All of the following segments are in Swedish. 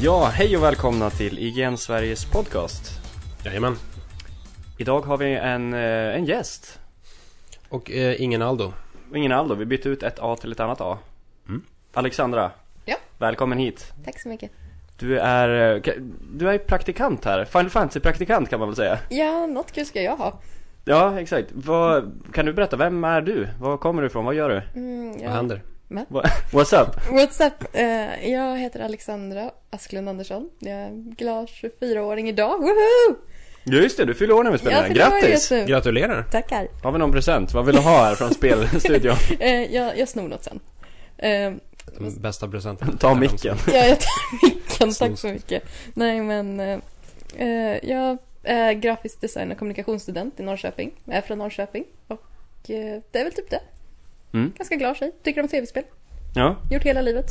Ja, hej och välkomna till IGN Sveriges podcast. Jajamän. Idag har vi en, eh, en gäst. Och eh, ingen Aldo. Och Ingen Aldo, vi bytte ut ett A till ett annat A. Alexandra. Ja. Välkommen hit. Tack så mycket. Du är, eh, ka- du är praktikant här. Final Fantasy-praktikant kan man väl säga. Ja, något kul ska jag ha. Ja, exakt. Vad, kan du berätta, vem är du? Var kommer du ifrån? Vad gör du? Mm, Vad jag... händer? Wha- What's up? What's up? Eh, jag heter Alexandra Asklund Andersson. Jag är glad 24-åring idag. Woho! Just det, du fyller år när vi spelar Jag in. fyller år just Grattis! nu. Gratulerar. Tackar. Har vi någon present? Vad vill du ha här från spelstudion? Eh, jag, jag snor något sen. Eh, Den bästa presenten. Ta micken. ja, jag tar micken, tack så mycket. Nej, men eh, eh, jag är grafisk design och kommunikationsstudent i Norrköping. Jag är från Norrköping och eh, det är väl typ det. Mm. Ganska glad tjej. Tycker om tv-spel. Ja, Gjort hela livet.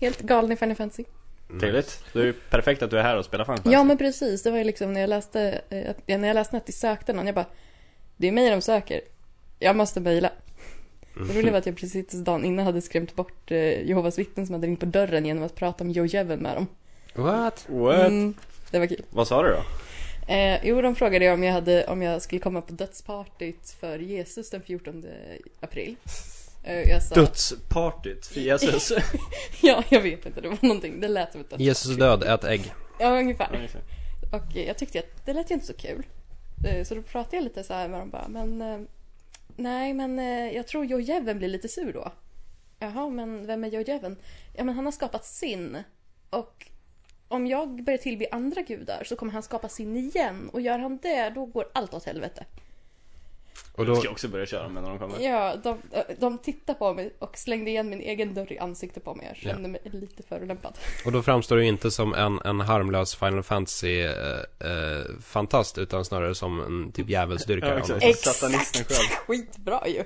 Helt galen i Final Fantasy. Mm. trevligt. Det är ju perfekt att du är här och spelar Final Fantasy. Ja men precis, det var ju liksom när jag läste, eh, att- när jag läste att de sökte någon, jag bara Det är mig de söker, jag måste mejla. Det roliga var att jag precis dagen innan hade skrämt bort eh, Jehovas vittnen som hade ringt på dörren genom att prata om Jojeven med dem. What? What? Mm, det var kul. Vad sa du då? Eh, jo, de frågade ju om jag, hade, om jag skulle komma på dödspartyt för Jesus den 14 april. Eh, jag sa, Dödspartyt för Jesus. ja jag vet inte, det var någonting, det lät som ett dödsparty. Jesus död, ät ägg. Ja, ungefär. Och eh, jag tyckte att det lät ju inte så kul. Eh, Så då pratade jag lite så här med dem bara, men eh, nej men eh, jag tror Jojjeven blir lite sur då. Jaha, men vem är Jojjeven? Ja men han har skapat sin. Och om jag börjar tillbe andra gudar så kommer han skapa sin igen. Och gör han det, då går allt åt helvete. Och Jag då, ska också börja köra med när de kommer. Ja, de, eh, de tittade på mig och slängde igen min egen dörr i ansiktet på mig. Jag kände mig lite förolämpad. och då framstår du inte som en, en harmlös Final Fantasy-fantast, utan snarare som en typ djävulsdyrkare. Ja, av något exakt. slag. Satanisten själv. Skitbra ju!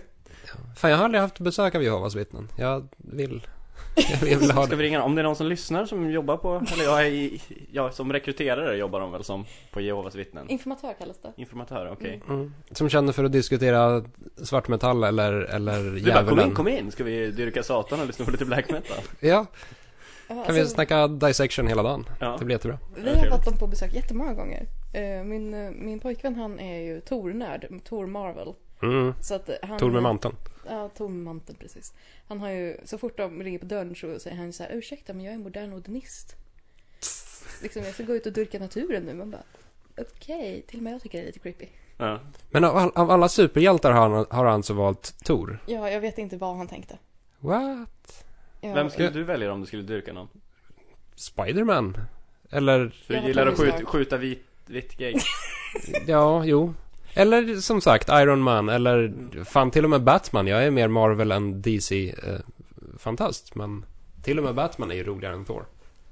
Fan, jag har aldrig haft besök av Jehovas vittnen. Jag vill... Jag vill ha Ska det. vi ringa Om det är någon som lyssnar som jobbar på, eller jag är i, ja, som rekryterare jobbar de väl som på Jehovas vittnen? Informatör kallas det. Informatör, okej. Mm. Som känner för att diskutera svartmetall eller, eller Du bara, kom in, djävulen. kom in, ska vi dyrka satan och lyssna på lite black metal? Ja, Ja, kan vi alltså- snacka dissection hela dagen? Ja. Det blir jättebra. Ja, Vi har trevligt. fått dem på besök jättemånga gånger. Eh, Min, eh, min pojkvän han är ju Tor-nörd, Tor Marvel. Mm. Så att eh, han, Tor med manteln. Ja, Tor med manteln precis. Han har ju, så fort de ringer på dörren så säger han ju så här, ursäkta men jag är modern odinist. liksom jag ska gå ut och dyrka naturen nu. Man bara, okej, till och med jag tycker det är lite creepy. Ja. Men av, all- av alla superhjältar har han, har han alltså valt Tor. Ja, jag vet inte vad han tänkte. What? Ja, Vem skulle du välja om du skulle dyrka någon? Spiderman? Eller, För Jag du har gillar att Tony skjuta, Stark. skjuta vit, vitt gäng. ja, jo. Eller som sagt, Iron Man eller fan till och med Batman. Jag är mer Marvel än DC-fantast, men till och med Batman är ju roligare än Thor.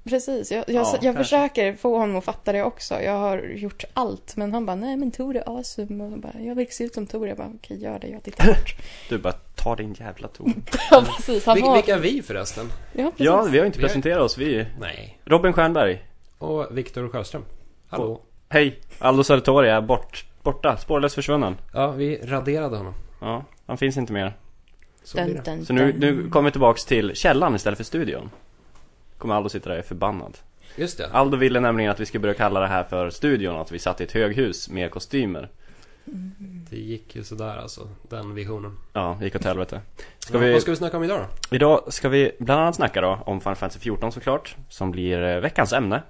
Precis, jag, jag, Ja, jag kanske. försöker få honom att fatta det också. Jag har gjort allt, men han bara, nej men Tor är awesome. Och jag, bara, jag vill se ut som Tor. Jag bara, okej gör det, jag tittar bort. Du bara, ta din jävla ton. Ja, precis. Han Vil- har... vilka är vi förresten? Ja, precis. Ja, vi har ju inte Vi har- presenterat oss, vi Nej. Robin Stjernberg. Och Viktor Sjöström. Hallå. Hej! Aldo Sartori är bort, borta, spårlöst försvunnen. Ja, vi raderade honom. Ja, han finns inte mer. Så blir det. dun, Så nu, nu kommer vi tillbaks till källan istället för studion. Kommer Aldo sitta där och är förbannad. Just det. Aldo ville nämligen att vi skulle börja kalla det här för studion, att vi satt i ett höghus med kostymer. Det gick ju sådär alltså, den visionen. Ja, det gick åt helvete. Ska Ja, vi, Vad ska vi snacka om idag då? Idag ska vi bland annat snacka då om Final Fantasy 14 såklart, som blir eh, veckans ämne.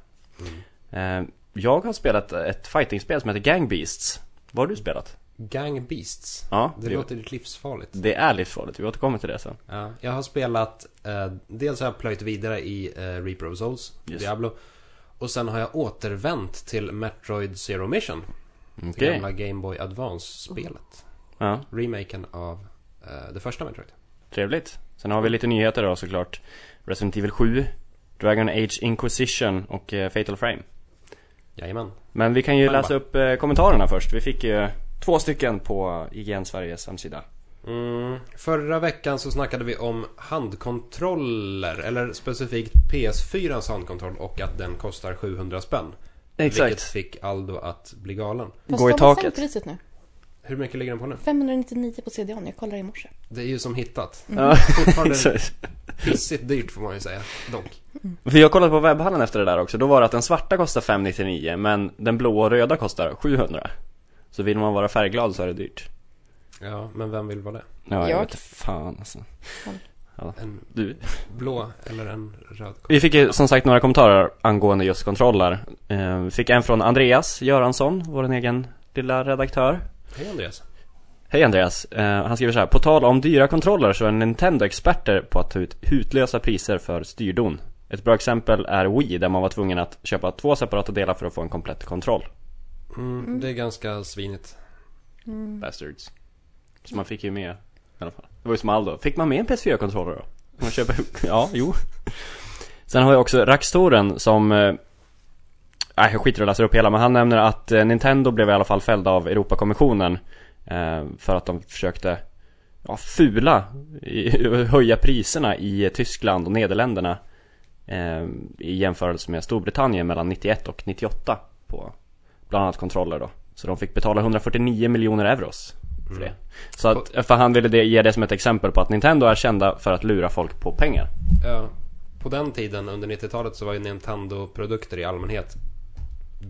Mm. Eh, Jag har spelat ett fightingspel som heter Gang Beasts. Vad har du spelat? Gang Beasts. Ja, Det det- låter livsfarligt. Det är livsfarligt, vi återkommer till det sen. Ja, jag har spelat, eh, dels har jag plöjt vidare i eh, Reaper of Souls, Just. Diablo. Och sen har jag återvänt till Metroid Zero Mission. Okej. Det Mm, gamla Game Boy Advance-spelet. Ja, Remaken av eh, det första Metroid. trevligt. Sen har vi lite nyheter då såklart. Resident Evil 7, Dragon Age Inquisition och eh, Fatal Frame. Jajamän. Men vi kan ju Men läsa bara- upp eh, kommentarerna först. Vi fick ju eh, två stycken på IGN Sveriges hemsida. Mm. Förra veckan så snackade vi om handkontroller, eller specifikt PS4s handkontroll och att den kostar 700 spänn. Vilket fick Aldo att bli galen. Fast Går i de har taket. sänkt priset nu. Hur mycket ligger den på nu? 599 på CDON, jag kollar i morse. Det är ju som hittat. Ja, Fortfarande exakt. pissigt dyrt får man ju säga. Dock. För jag kollade på webbhallen efter det där också, då var det att den svarta kostar 599 men den blå och röda kostar 700 Så vill man vara färgglad så är det dyrt Ja, men vem vill vara det? Ja, jag, Jag. vet fan alltså En du. blå eller en röd? Vi fick ju som sagt några kommentarer angående just kontroller Eh, Vi fick en från Andreas Göransson, vår egen lilla redaktör Hej Andreas. Hej Andreas! Eh, han skriver så här. På tal om dyra kontroller så är Nintendo experter på att ta ut hutlösa priser för styrdon. Ett bra exempel är Wii där man var tvungen att köpa två separata delar för att få en komplett kontroll. Mm, Det är ganska svinigt. Mm, Bastards. Så man fick ju med i alla fall. Det var ju som Aldo. Fick man med en PS4-kontroller då? Man köper, ja, jo. Sen har vi också Raxtoren som... eh, Nej, jag skiter i att läsa upp hela, men han nämner att eh, Nintendo blev i alla fall fälld av Europakommissionen eh, För att de försökte ja, fula, i- höja priserna i Tyskland och Nederländerna eh, I jämförelse med Storbritannien mellan 91 och 98 på bland annat kontroller då Så de fick betala 149 miljoner euros för det Mm. Så att, för han ville det, ge det som ett exempel på att Nintendo är kända för att lura folk på pengar Ja, på den tiden, under 90-talet, så var ju Nintendo-produkter i allmänhet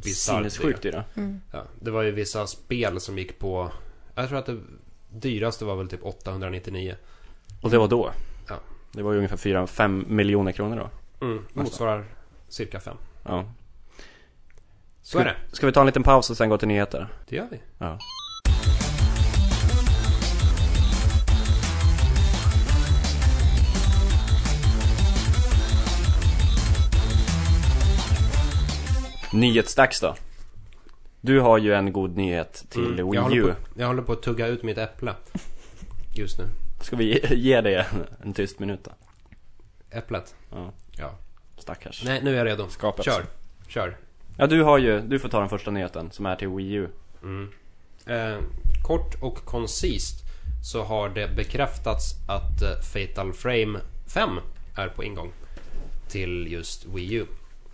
bisarrt dyra. Sinnessjukt dyra Ja, det var ju vissa spel som gick på... Jag tror att det dyraste var väl typ 899. Och det var då Ja. Det var ju ungefär 4-5 miljoner kronor då Mm, motsvarar cirka fem. Ja Så är det. Ska vi ta en liten paus och sen gå till nyheter? Det gör vi. Ja. Nyhetsdags då. Du har ju en god nyhet till Mm, jag, Wii håller U. på, jag håller på att tugga ut mitt äpple. Just nu. Ska vi ge- ge dig en tyst minut då? Äpplet. Ja. Ja. Stackars. Nej, nu är jag redo. Skapet. Kör. Kör. Ja du har ju, du får ta den första nyheten som är till Wii U. Mm. Eh, kort och koncist så har det bekräftats att eh, Fatal Frame 5 är på ingång till just Wii U.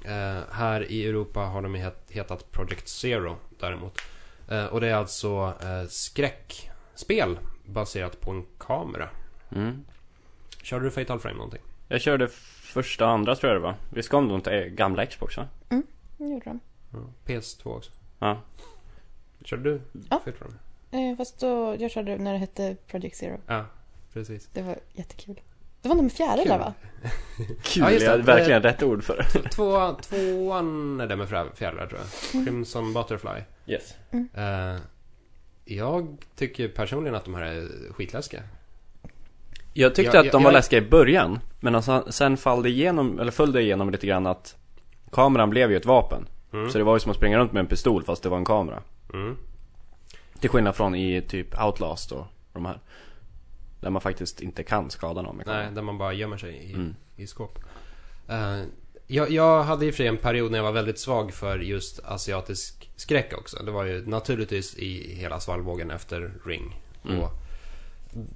Eh, här i Europa har de het, hetat Project Zero däremot. Eh, och det är alltså eh, skräckspel baserat på en kamera. Mm. Körde du Fatal Frame någonting? Jag körde första och andra tror jag det var. Visst kom de till gamla Xbox va? Det gjorde de. PS2 också. Ja. Körde du Ja. Fatal Frame? Eh, fast då, jag körde när det hette Project Zero. Ja, precis. Det var jättekul. Det var nummer fjärilar Kul. va? Kul, Ja, just det. jag hade verkligen rätt ord för det. Två, tvåan är det med fjär- fjärilar tror jag. Crimson Butterfly. Yes. Eh, jag tycker personligen att de här är skitläskiga. Jag tyckte Jag- att jag- de var jag- läskiga i början Men alltså, sen fall det igenom, eller föll det igenom lite grann att Kameran blev ju ett vapen Mm. Så det var ju som att springa runt med en pistol fast det var en kamera Mm. Till skillnad från i typ Outlast och de här Där man faktiskt inte kan skada någon med Nej, kameran där man bara gömmer sig i, Mm. i skåp. Eh, jag, jag hade i och för sig en period när jag var väldigt svag för just asiatisk skräck också. Det var ju naturligtvis i hela svallvågen efter Ring Mm. och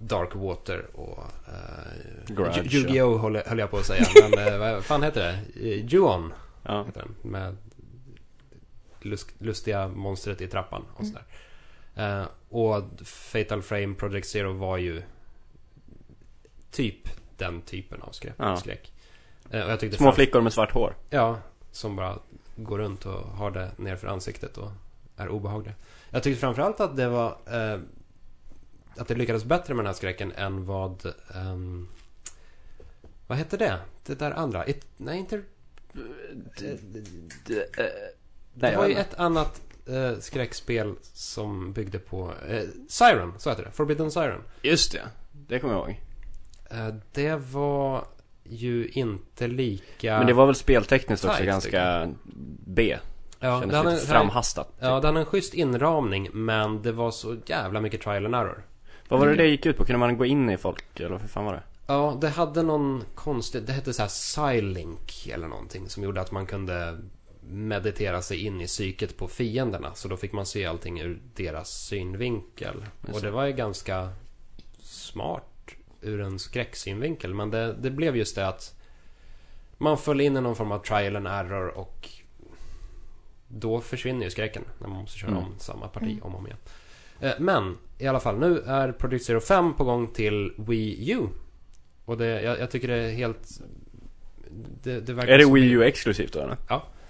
Dark Water och... eh, Grudge, Yu- Yu-Gi-Oh höll, höll jag på att säga. Men eh, vad fan heter det? Eh, Ju-On. Ja, heter den. Med lus- lustiga monstret i trappan och Mm. sådär. Eh, och Fatal Frame Project Zero var ju typ den typen av skräck. Ja. skräck. Eh, och jag tyckte små fram- flickor med svart hår Ja, som bara går runt och har det nerför ansiktet och är obehagliga. Jag tyckte framförallt att det var... Eh, att det lyckades bättre med den här skräcken än vad... ehm, vad hette det? Det där andra? It, nej, inte Nej, det var jag ju vet ett annat eh, skräckspel som byggde på... Eh, Siren, så heter det. Forbidden Siren. inte. Just det, det kommer jag ihåg Eh, det var ju inte lika... Men det var väl speltekniskt också Tight, ganska B ja, det Kändes hade, lite framhastat typ. ja, det hade en schysst inramning, men det var så jävla mycket trial and error. Vad var det det gick ut på? Kunde man gå in i folk eller hur fan var det? Ja, det hade någon konstig... Det hette så här Silink eller någonting som gjorde att man kunde meditera sig in i psyket på fienderna. Så då fick man se allting ur deras synvinkel. Just Och det. det var ju ganska smart ur en skräcksynvinkel. Men det, det blev just det att man föll in i någon form av trial and error och då försvinner ju skräcken när man måste köra Mm. om samma parti om och om igen. Eh, Men i alla fall, nu är Project Zero 5 på gång till Wii U. Och det, jag, jag tycker det är helt... Det, det verkar Är det som- Wii U exklusivt då eller?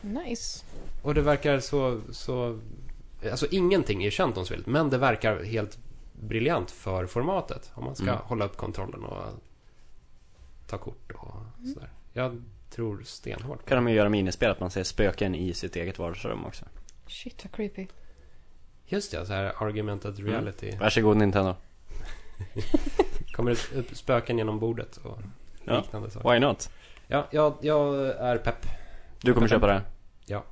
Nice. Och det verkar så, så... Alltså ingenting är känt om spelet, men det verkar helt briljant för formatet. Om man ska Mm. hålla upp kontrollen och ta kort och sådär. Jag tror stenhårt på Kan det. de ju göra minispel att man ser spöken i sitt eget vardagsrum också. Shit vad creepy. Just det, så här argumented Mm. reality. Varsågod Nintendo. Kommer det upp spöken genom bordet och Ja. liknande saker. Why not? Ja, jag, jag är pepp. Du kommer köpa det här? Ja.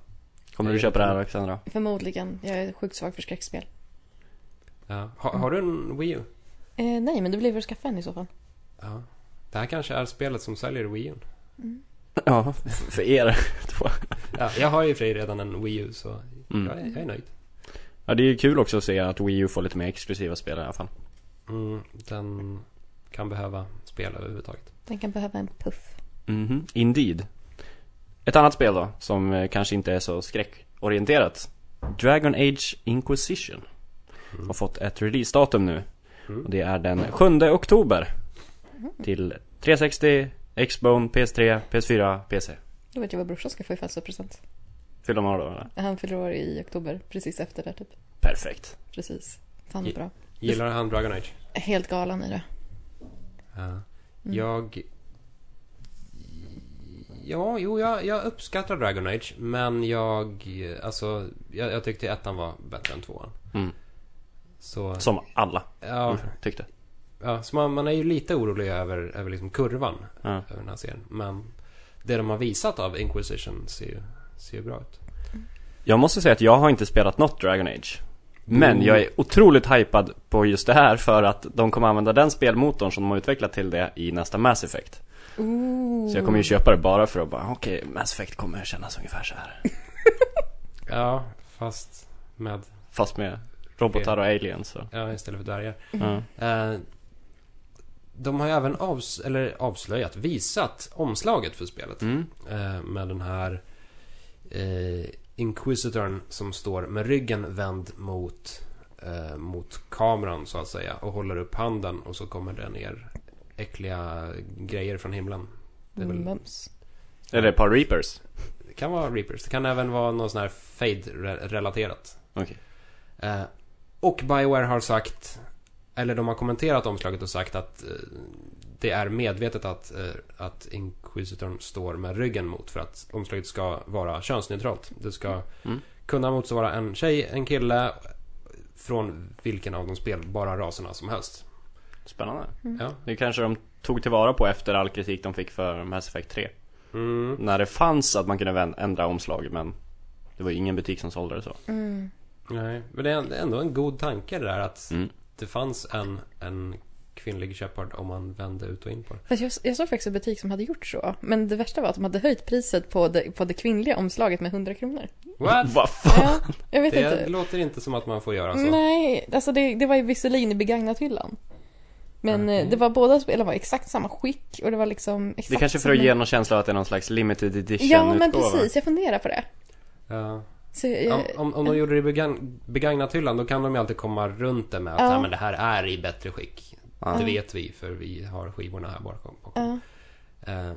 Kommer du köpa det här Alexandra? Förmodligen. Jag är sjukt svag för skräckspel. Ja. Ha, har du en Wii U? Eh, nej, men det blir väl att skaffa en i så fall. Ja. Det här kanske är spelet som säljer Wii U. Mm. Ja, för er två. Ja, jag har ju i och för sig redan en Wii U så Mm. jag, är, jag är nöjd. Ja, det är ju kul också att se att Wii U får lite mer exklusiva spel i alla fall. Mm, den kan behöva spel överhuvudtaget. Den kan behöva en puff. Mhm, indeed. Ett annat spel då, som eh, kanske inte är så skräckorienterat. Dragon Age Inquisition. Har fått ett releasedatum nu. Mm. Och det är den 7 oktober. Till 360, Xbone, PS3, PS4, PC. Då vet jag vad brorsan ska få i födelsedagspresent. Fyller man då eller? Han fyller år i oktober, precis efter det typ. Perfekt. Precis. Fan vad Ja. bra. Gillar han Dragon Age? Helt galen i det. Mm. Ja. Jag... Ja, jo, jag, jag uppskattar Dragon Age. Men jag... Alltså, jag, jag tyckte ettan var bättre än tvåan. Mm. Så... Som alla Ja, tyckte. ja, så man, man är ju lite orolig över, över liksom kurvan. Ja. över den här serien. Men det de har visat av Inquisition ser ju, ser ju bra ut. Jag måste säga att jag har inte spelat något Dragon Age. Men jag är otroligt hypad på just det här för att de kommer använda den spelmotorn som de har utvecklat till det i nästa Mass Effect. Ooh. Så jag kommer ju köpa det bara för att bara, okej, Mass Effect kommer kännas ungefär så här. Ja, fast med... Fast med robotar och aliens så. Ja, istället för dvärgar. Ja. Eh, de har ju även avs eller avslöjat, visat omslaget för spelet. Mm. Eh, med den här eh, Inquisitorn som står med ryggen vänd mot, eh, mot kameran så att säga. Och håller upp handen och så kommer det ner äckliga grejer från himlen. Det är väl Mums. Eller ett par reapers. Det kan vara Reapers. Det kan även vara någon sån här Fade-relaterat. Okej. Eh, och Bioware har sagt, eller de har kommenterat omslaget och sagt att eh, det är medvetet att, eh, att Inquisitorn står med ryggen mot för att omslaget ska vara könsneutralt. Det ska Mm. kunna motsvara en tjej, en kille från vilken av de spelbara raserna som helst. Spännande. Ja. Det kanske de tog tillvara på efter all kritik de fick för Mass Effect 3. Mm. När det fanns att man kunde vän- ändra omslag men det var ju ingen butik som sålde det så. Mm. Nej, men det är en- det är ändå en god tanke det där att Mm. det fanns en, en kvinnlig Shepard om man vände ut och in på det. Fast jag, jag såg faktiskt en butik som hade gjort så. Men det värsta var att de hade höjt priset på det, på det kvinnliga omslaget med 100 kronor. What? Mm. Vad typ? fan? Ja, jag vet Det inte. låter inte som att man får göra så. Nej, alltså det, det var ju visserligen i begagnathyllan. Men Okej. eh, det var båda spelen var i exakt samma skick och det var liksom exakt Mm. Det är kanske för att samma- ge någon känsla av att det är någon slags limited edition Ja, men utgåva. precis. Jag funderar på det. Ja. Så, jag- Om, om, eh. om de gjorde det i begagn, begagnat hyllan då kan de ju alltid komma runt det med att Ja. ja. men det här är i bättre skick. Ja. Det vet vi för vi har skivorna här bakom. bakom. ja. Eh,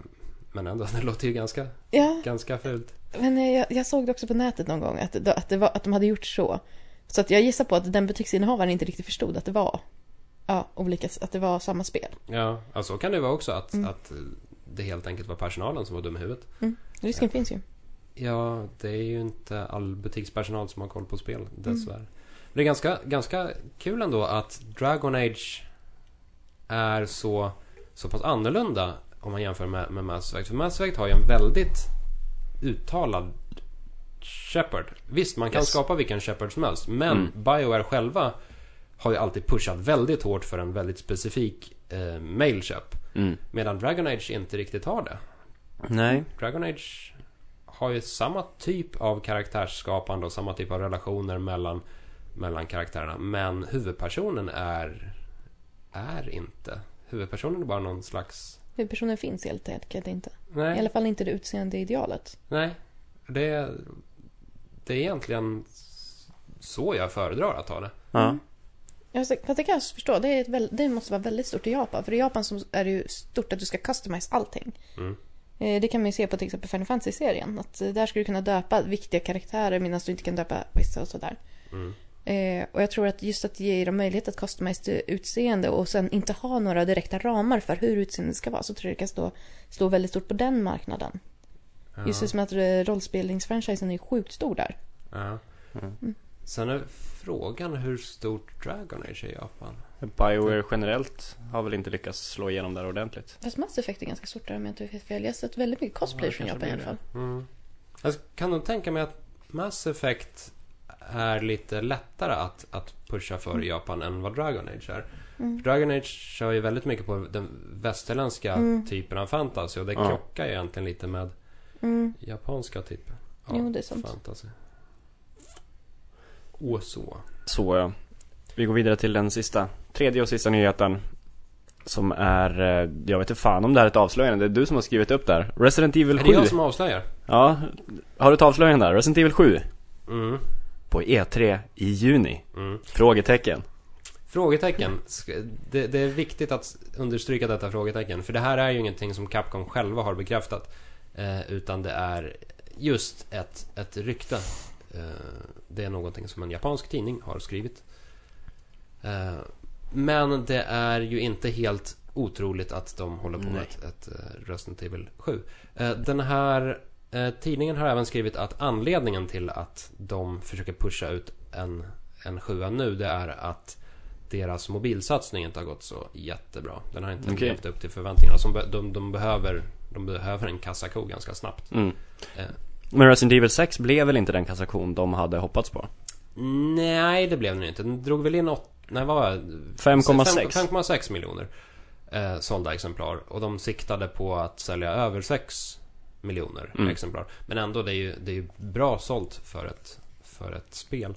Men ändå, det låter ju ganska, ja, ganska fult. men eh, jag, jag såg det också på nätet någon gång att, det- att, det var, att de hade gjort så. Så att jag gissar på att den butiksinnehavaren inte riktigt förstod att det var ja, olika, att det var samma spel. Ja, ja, så kan det vara också att, Mm. att det helt enkelt var personalen som var dum i huvudet. Risken finns ju. Ja, det är ju inte all butikspersonal som har koll på spel, dessvärre. Men det är ganska, ganska kul ändå att Dragon Age är så, så pass annorlunda om man jämför med, med Mass Effect. För Mass Effect har ju en väldigt uttalad Shepard. Visst, man kan Yes. skapa vilken Shepard som helst, men Bioware själva har ju alltid pushat väldigt hårt för en väldigt specifik eh, male Shep. Mm. Medan Dragon Age inte riktigt har det. Nej. Dragon Age har ju samma typ av karaktärsskapande och samma typ av relationer mellan, mellan karaktärerna. Men huvudpersonen är, är inte. Huvudpersonen är bara någon slags... Huvudpersonen finns helt enkelt inte. I alla Nej, fall inte det utseende idealet. nej. Det, det är egentligen så jag föredrar att ha det. Ja. Ja, så- fast det kan jag förstå. Det, är ett väl, det måste vara väldigt stort i Japan. För i Japan så är det ju stort att du ska customize allting. Mm. Eh, Det kan man ju se på till exempel Final Fantasy-serien. Att eh, där ska du kunna döpa viktiga karaktärer medan du inte kan döpa vissa och sådär. Mm. Eh, och jag tror att just att ge dem möjlighet att customize det utseende och sen inte ha några direkta ramar för hur utseendet ska vara så tror jag det kan stå, stå väldigt stort på den marknaden. Ja. Just det som att eh, rollspelningsfranchisen är sjukt stor där. Ja. Mm. Sen är frågan hur stort Dragon Age är i Japan. Bioware generellt har väl inte lyckats slå igenom där ordentligt. Fast Mass Effect är ganska stort där om jag inte vet fel. Jag har sett väldigt mycket cosplay Ja, det från kanske Japan i alla blir fall. Mm. Jag kan nog tänka mig att Mass Effect är lite lättare att, att pusha för Mm. i Japan än vad Dragon Age är. För Dragon Age kör ju väldigt mycket på den västerländska typen av fantasy och det Ja. krockar ju egentligen lite med Mm. japanska typen av Jo, det är sant. fantasy. Och så. Så ja. Vi går vidare till den sista, tredje och sista nyheten. Som är, eh, jag vet inte fan om det här är ett avslöjande, det är du som har skrivit upp där. Resident Evil Är 7. det jag som avslöjar? Ja, har du ett avslöjande där? Resident Evil 7 Mm. på E3 i juni? Mm. Frågetecken. Frågetecken. Ska- Det, det är viktigt att understryka detta frågetecken. För det här är ju ingenting som Capcom själva har bekräftat. Eh, utan det är just ett, ett rykte. Eh, det är någonting som en japansk tidning har skrivit. Eh, men det är ju inte helt otroligt att de håller på med Nej. ett, ett eh, Resident Evil 7. Eh, den här eh, tidningen har även skrivit att anledningen till att de försöker pusha ut en, en 7 nu det är att deras mobilsatsning inte har gått så jättebra. Den har inte Okej. levt upp till förväntningarna. Som be- de, de, behöver, de behöver en kassako ganska snabbt. Mm. Eh. Men Resident Evil 6 blev väl inte den kassation de hade hoppats på? Nej, det blev den inte. Den drog väl in åt, nej, vad var det? 5,6. 5,6 miljoner eh, sålda exemplar. Och de siktade på att sälja över 6 miljoner Mm. exemplar. Men ändå, det är ju, det är ju bra sålt för ett, för ett spel.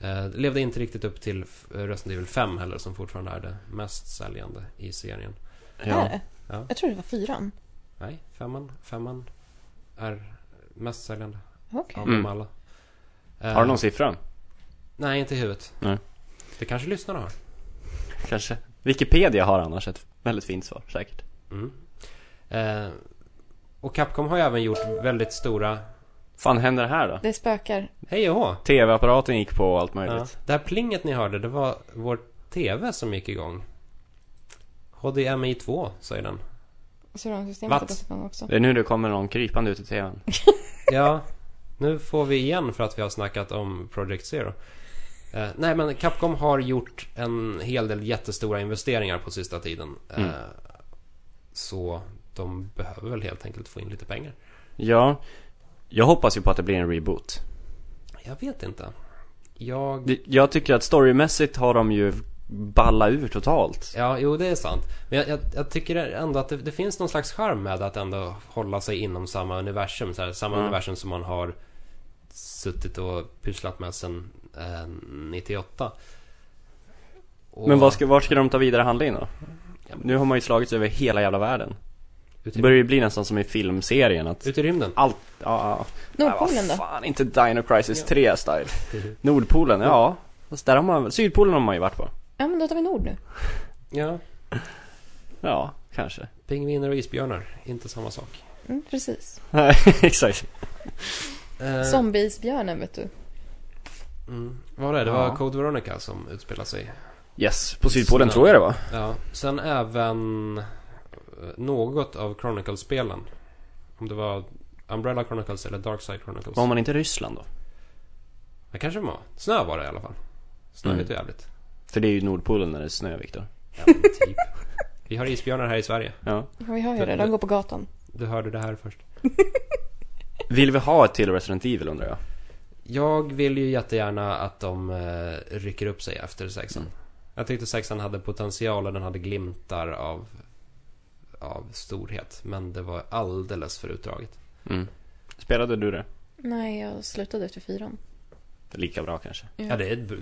Eh, det levde inte riktigt upp till eh, Resident Evil 5 heller, som fortfarande är det mest säljande i serien. Är Ja. det? Ja. Jag tror det var fyran. Nej, femman, femman är mest säljande Okej. av Mm. dem alla. Eh, Har du någon siffra? Nej, inte i huvudet. Nej. Det kanske lyssnarna har. Kanske. Wikipedia har annars ett väldigt fint svar, säkert. Mm. Eh, och Capcom har ju även gjort väldigt stora fan händer här då? Det spökar. hej och hå. TV-apparaten gick på och allt Ja. möjligt. Det här plinget ni hörde, det var vår TV som gick igång. HDMI 2, säger den. Och så har de What? systemet på igång också. Det är nu det kommer någon krypande ut i TVn. Ja, nu får vi igen för att vi har snackat om Project Zero. Eh, nej, men Capcom har gjort en hel del jättestora investeringar på sista tiden. Eh, Mm. Så de behöver väl helt enkelt få in lite pengar. Ja, jag hoppas ju på att det blir en reboot. Jag vet inte. Jag... Det- Jag tycker att storymässigt har de ju ballat ur totalt. Ja, jo det är sant. Men jag, jag, jag tycker ändå att det, det finns någon slags charm med att ändå hålla sig inom samma universum. Så här, samma Ja. universum som man har suttit och pysslat med sedan eh, 98. Och- Men vad ska, vart ska de ta vidare handlingen då? Ja, men- Nu har man ju slagits över hela jävla världen. Ut Det i, börjar ju bli nästan som i filmserien att... ut i rymden. Allt, ja, ja. Nordpolen Nej, vad då? fan, inte Dino Crisis 3 style. Nordpolen, ja. Fast där har man, Sydpolen har man ju varit på. Ja men då tar vi Nord nu. Ja, Ja, kanske. pingviner och isbjörnar. Inte samma sak. Mm, precis. Nej, Exakt. Eh, Zombiesbjörnen vet du. mm, vad var det? Det var Ja. Code Veronica som utspelade sig. Yes, på Sydpolen tror jag det var. Ja, sen även eh, något av Chronicle-spelen. Om det var Umbrella Chronicles eller Darkside Chronicles. Var man inte i Ryssland då? Det kanske var. Snö var det i alla fall. Snöigt och jävligt. För det är ju Nordpolen när det är snö, Viktor. Ja, men typ. Vi har isbjörnar här i Sverige. Ja. Ja vi hör ju det, de går på gatan. Du hörde det här först. Vill vi ha ett till Resident Evil undrar jag? Jag vill ju jättegärna att de eh, rycker upp sig efter sexan. Jag tyckte sexan hade potential och den hade glimtar av, av storhet. Men det var alldeles för utdraget. Mm. Spelade du det? Nej jag slutade efter fyran. Lika bra kanske. Ja, det är ett b-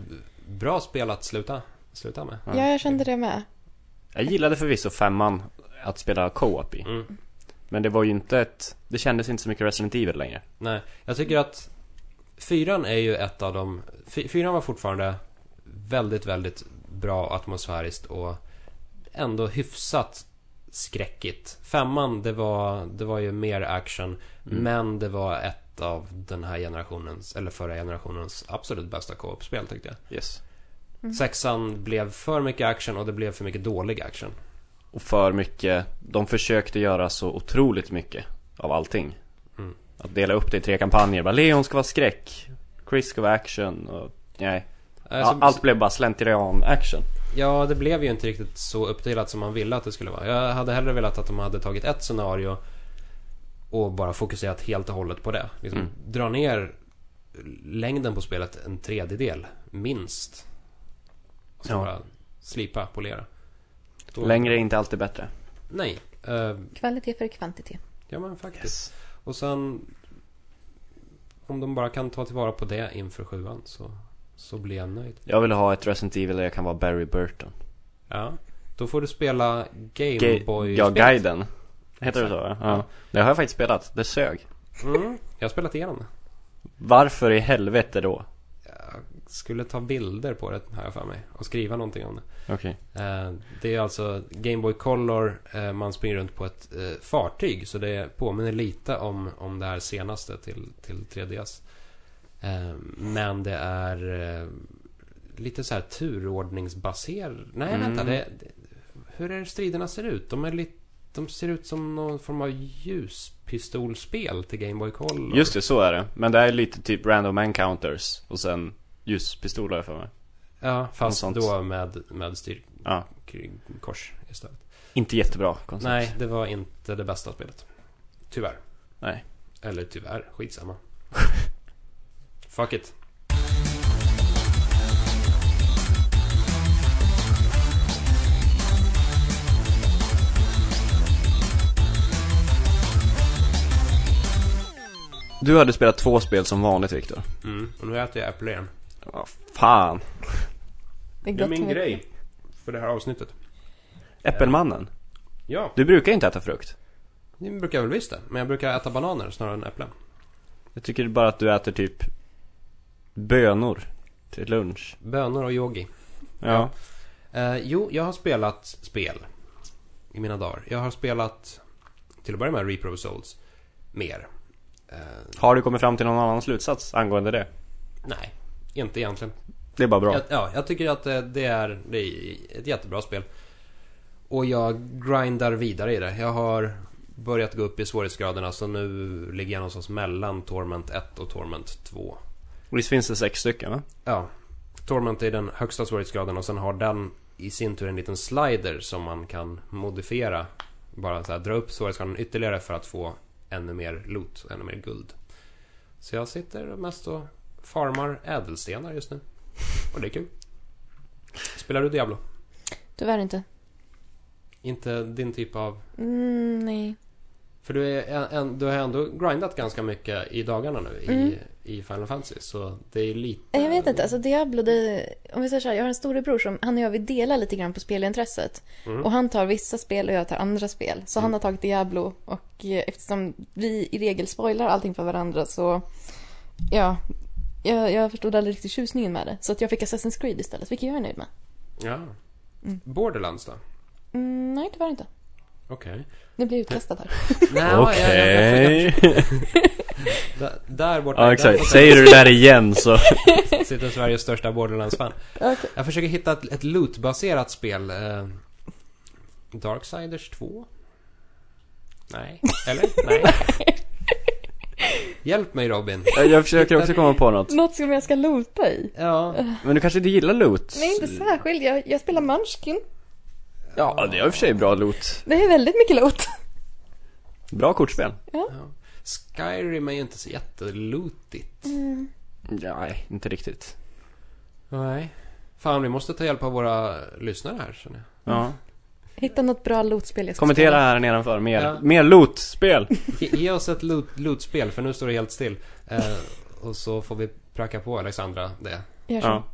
bra spel att sluta, sluta med. Ja. Ja jag kände det med. Jag gillade förvisso femman att spela co-op i. Mm. Men det var ju inte ett... Det kändes inte så mycket Resident Evil längre. Nej, jag tycker att Fyran är ju ett av de... fy- Fyran var fortfarande väldigt, väldigt bra atmosfäriskt och ändå hyfsat skräckigt. Femman, det var, det var ju mer action. Mm. Men det var ett av den här generationens, eller förra generationens, absolut bästa co-op-spel tyckte jag. Yes. Mm. Sexan blev för mycket action och det blev för mycket dålig action. Och för mycket, de försökte göra så otroligt mycket av allting. Mm. Att dela upp det i tre kampanjer. Bara Leon ska vara skräck, Chris ska vara action och nej. Alltså, All- Allt blev bara slentrian action. Ja, det blev ju inte riktigt så uppdelat som man ville att det skulle vara. Jag hade hellre velat att de hade tagit ett scenario och bara fokuserat helt och hållet på det. Liksom, Mm. Dra ner längden på spelet en tredjedel, minst. Och så Ja. bara slipa, polera. Då- Längre är inte alltid bättre. Nej. eh, Kvalitet för kvantitet. ja, men faktiskt. Och sen... Om de bara kan ta tillvara på det inför sjuan så, så blir jag nöjd. Jag vill ha ett Resident Evil där jag kan vara Barry Burton. Ja. Då får du spela Ga- Gameboy... ja, guiden. Heter det så? va? Ja. Det har jag faktiskt spelat. Det sög. Mm, jag har spelat igenom det. Varför i helvete då? Jag skulle ta bilder på det här för mig och skriva någonting om det. Okej. Eh, Det är alltså Game Boy Color, eh, man springer runt på ett eh, fartyg så det påminner lite om, om det här senaste till, till 3DS. Eh, Men det är eh, lite så här turordningsbaserat. Nej, Mm. vänta. Det, det, hur är det striderna ser ut? De, är lite, de ser ut som någon form av ljuspistolspel till Game Boy Color. Just det, så är det. Men det är lite typ random encounters och sen ljuspistoler för mig. Ja, fast Något sånt. då med, med styrkors Ja. istället. Inte jättebra koncept. Nej, det var inte det bästa spelet. Tyvärr. Nej. Eller tyvärr, skitsamma. Fuck it. Du hade spelat två spel som vanligt Viktor. Mm. Och nu äter jag äpple igen. Ja, fan. Det är Det är gott min med- grej. För det här avsnittet. Äppelmannen. Ja, Du brukar inte äta frukt. det brukar jag väl visst det. Men jag brukar äta bananer snarare än äpplen. Jag tycker bara att du äter typ bönor till lunch. Bönor och yogi. Ja. Eh, jo, jag har spelat spel. I mina dagar. Jag har spelat, till att börja med, Reaper of Souls. Mer. Eh, Har du kommit fram till någon annan slutsats angående det? nej, inte egentligen. Det är bara bra. Jag, ja, jag tycker att eh, det, det, är, det är ett jättebra spel. Och jag grindar vidare i det. Jag har börjat gå upp i svårighetsgraderna så nu ligger jag någonstans mellan Torment 1 och Torment 2. Och Visst finns det sex stycken va? Ja, Torment är den högsta svårighetsgraden och sen har den i sin tur en liten slider som man kan modifiera. Bara så här, dra upp svårighetsgraden ytterligare för att få ännu mer loot, ännu mer guld. Så jag sitter mest och farmar ädelstenar just nu. Och det är kul. Spelar du Diablo? Tyvärr inte. Inte din typ av... Mm, nej. För du, är en, en, du har ändå grindat ganska mycket i dagarna nu Mm. i, i Final Fantasy. Så det är lite... Nej, Jag vet inte, alltså Diablo, det, om vi säger så här, jag har en storebror som, han och jag vi delar lite grann på spelintresset. Mm. Och han tar vissa spel och jag tar andra spel. Så han har tagit Diablo och eh, eftersom vi i regel spoilar allting för varandra så, ja, jag, jag förstod aldrig riktigt tjusningen med det. Så att jag fick Assassin's Creed istället, vilket jag är nöjd med. Ja. Mm. Borderlands då? Mm, nej, tyvärr inte. Okej. Nu blir jag utkastad här. Nej, jag- jag- jag- jag- Där- Där borta. ja där exakt. borta Säger du det där igen så... Sitter Sveriges största Borderlands-fan. Okej. Jag försöker hitta ett, ett loot-baserat spel. Eh, Darksiders 2? Nej. Eller? Nej. Hjälp mig Robin. Jag försöker också komma på något. Något som jag ska loota i. Ja. Men du kanske inte gillar loot? Nej, inte särskilt. Jag, jag spelar Munchkin. Ja, det är i och för sig bra loot. Det är väldigt mycket loot. Bra kortspel. ja. Skyrim är ju inte så jättelootigt. Nej, inte riktigt. Nej. Fan, vi måste ta hjälp av våra lyssnare här känner jag. Ja. Hitta något bra lootspel jag ska Kommentera spela. här nedanför. Mer, Ja. mer loot-spel. Ge, ge oss ett loot- loot-spel för nu står det helt still. Eh, och så får vi pracka på Alexandra det. Gör så. Ja.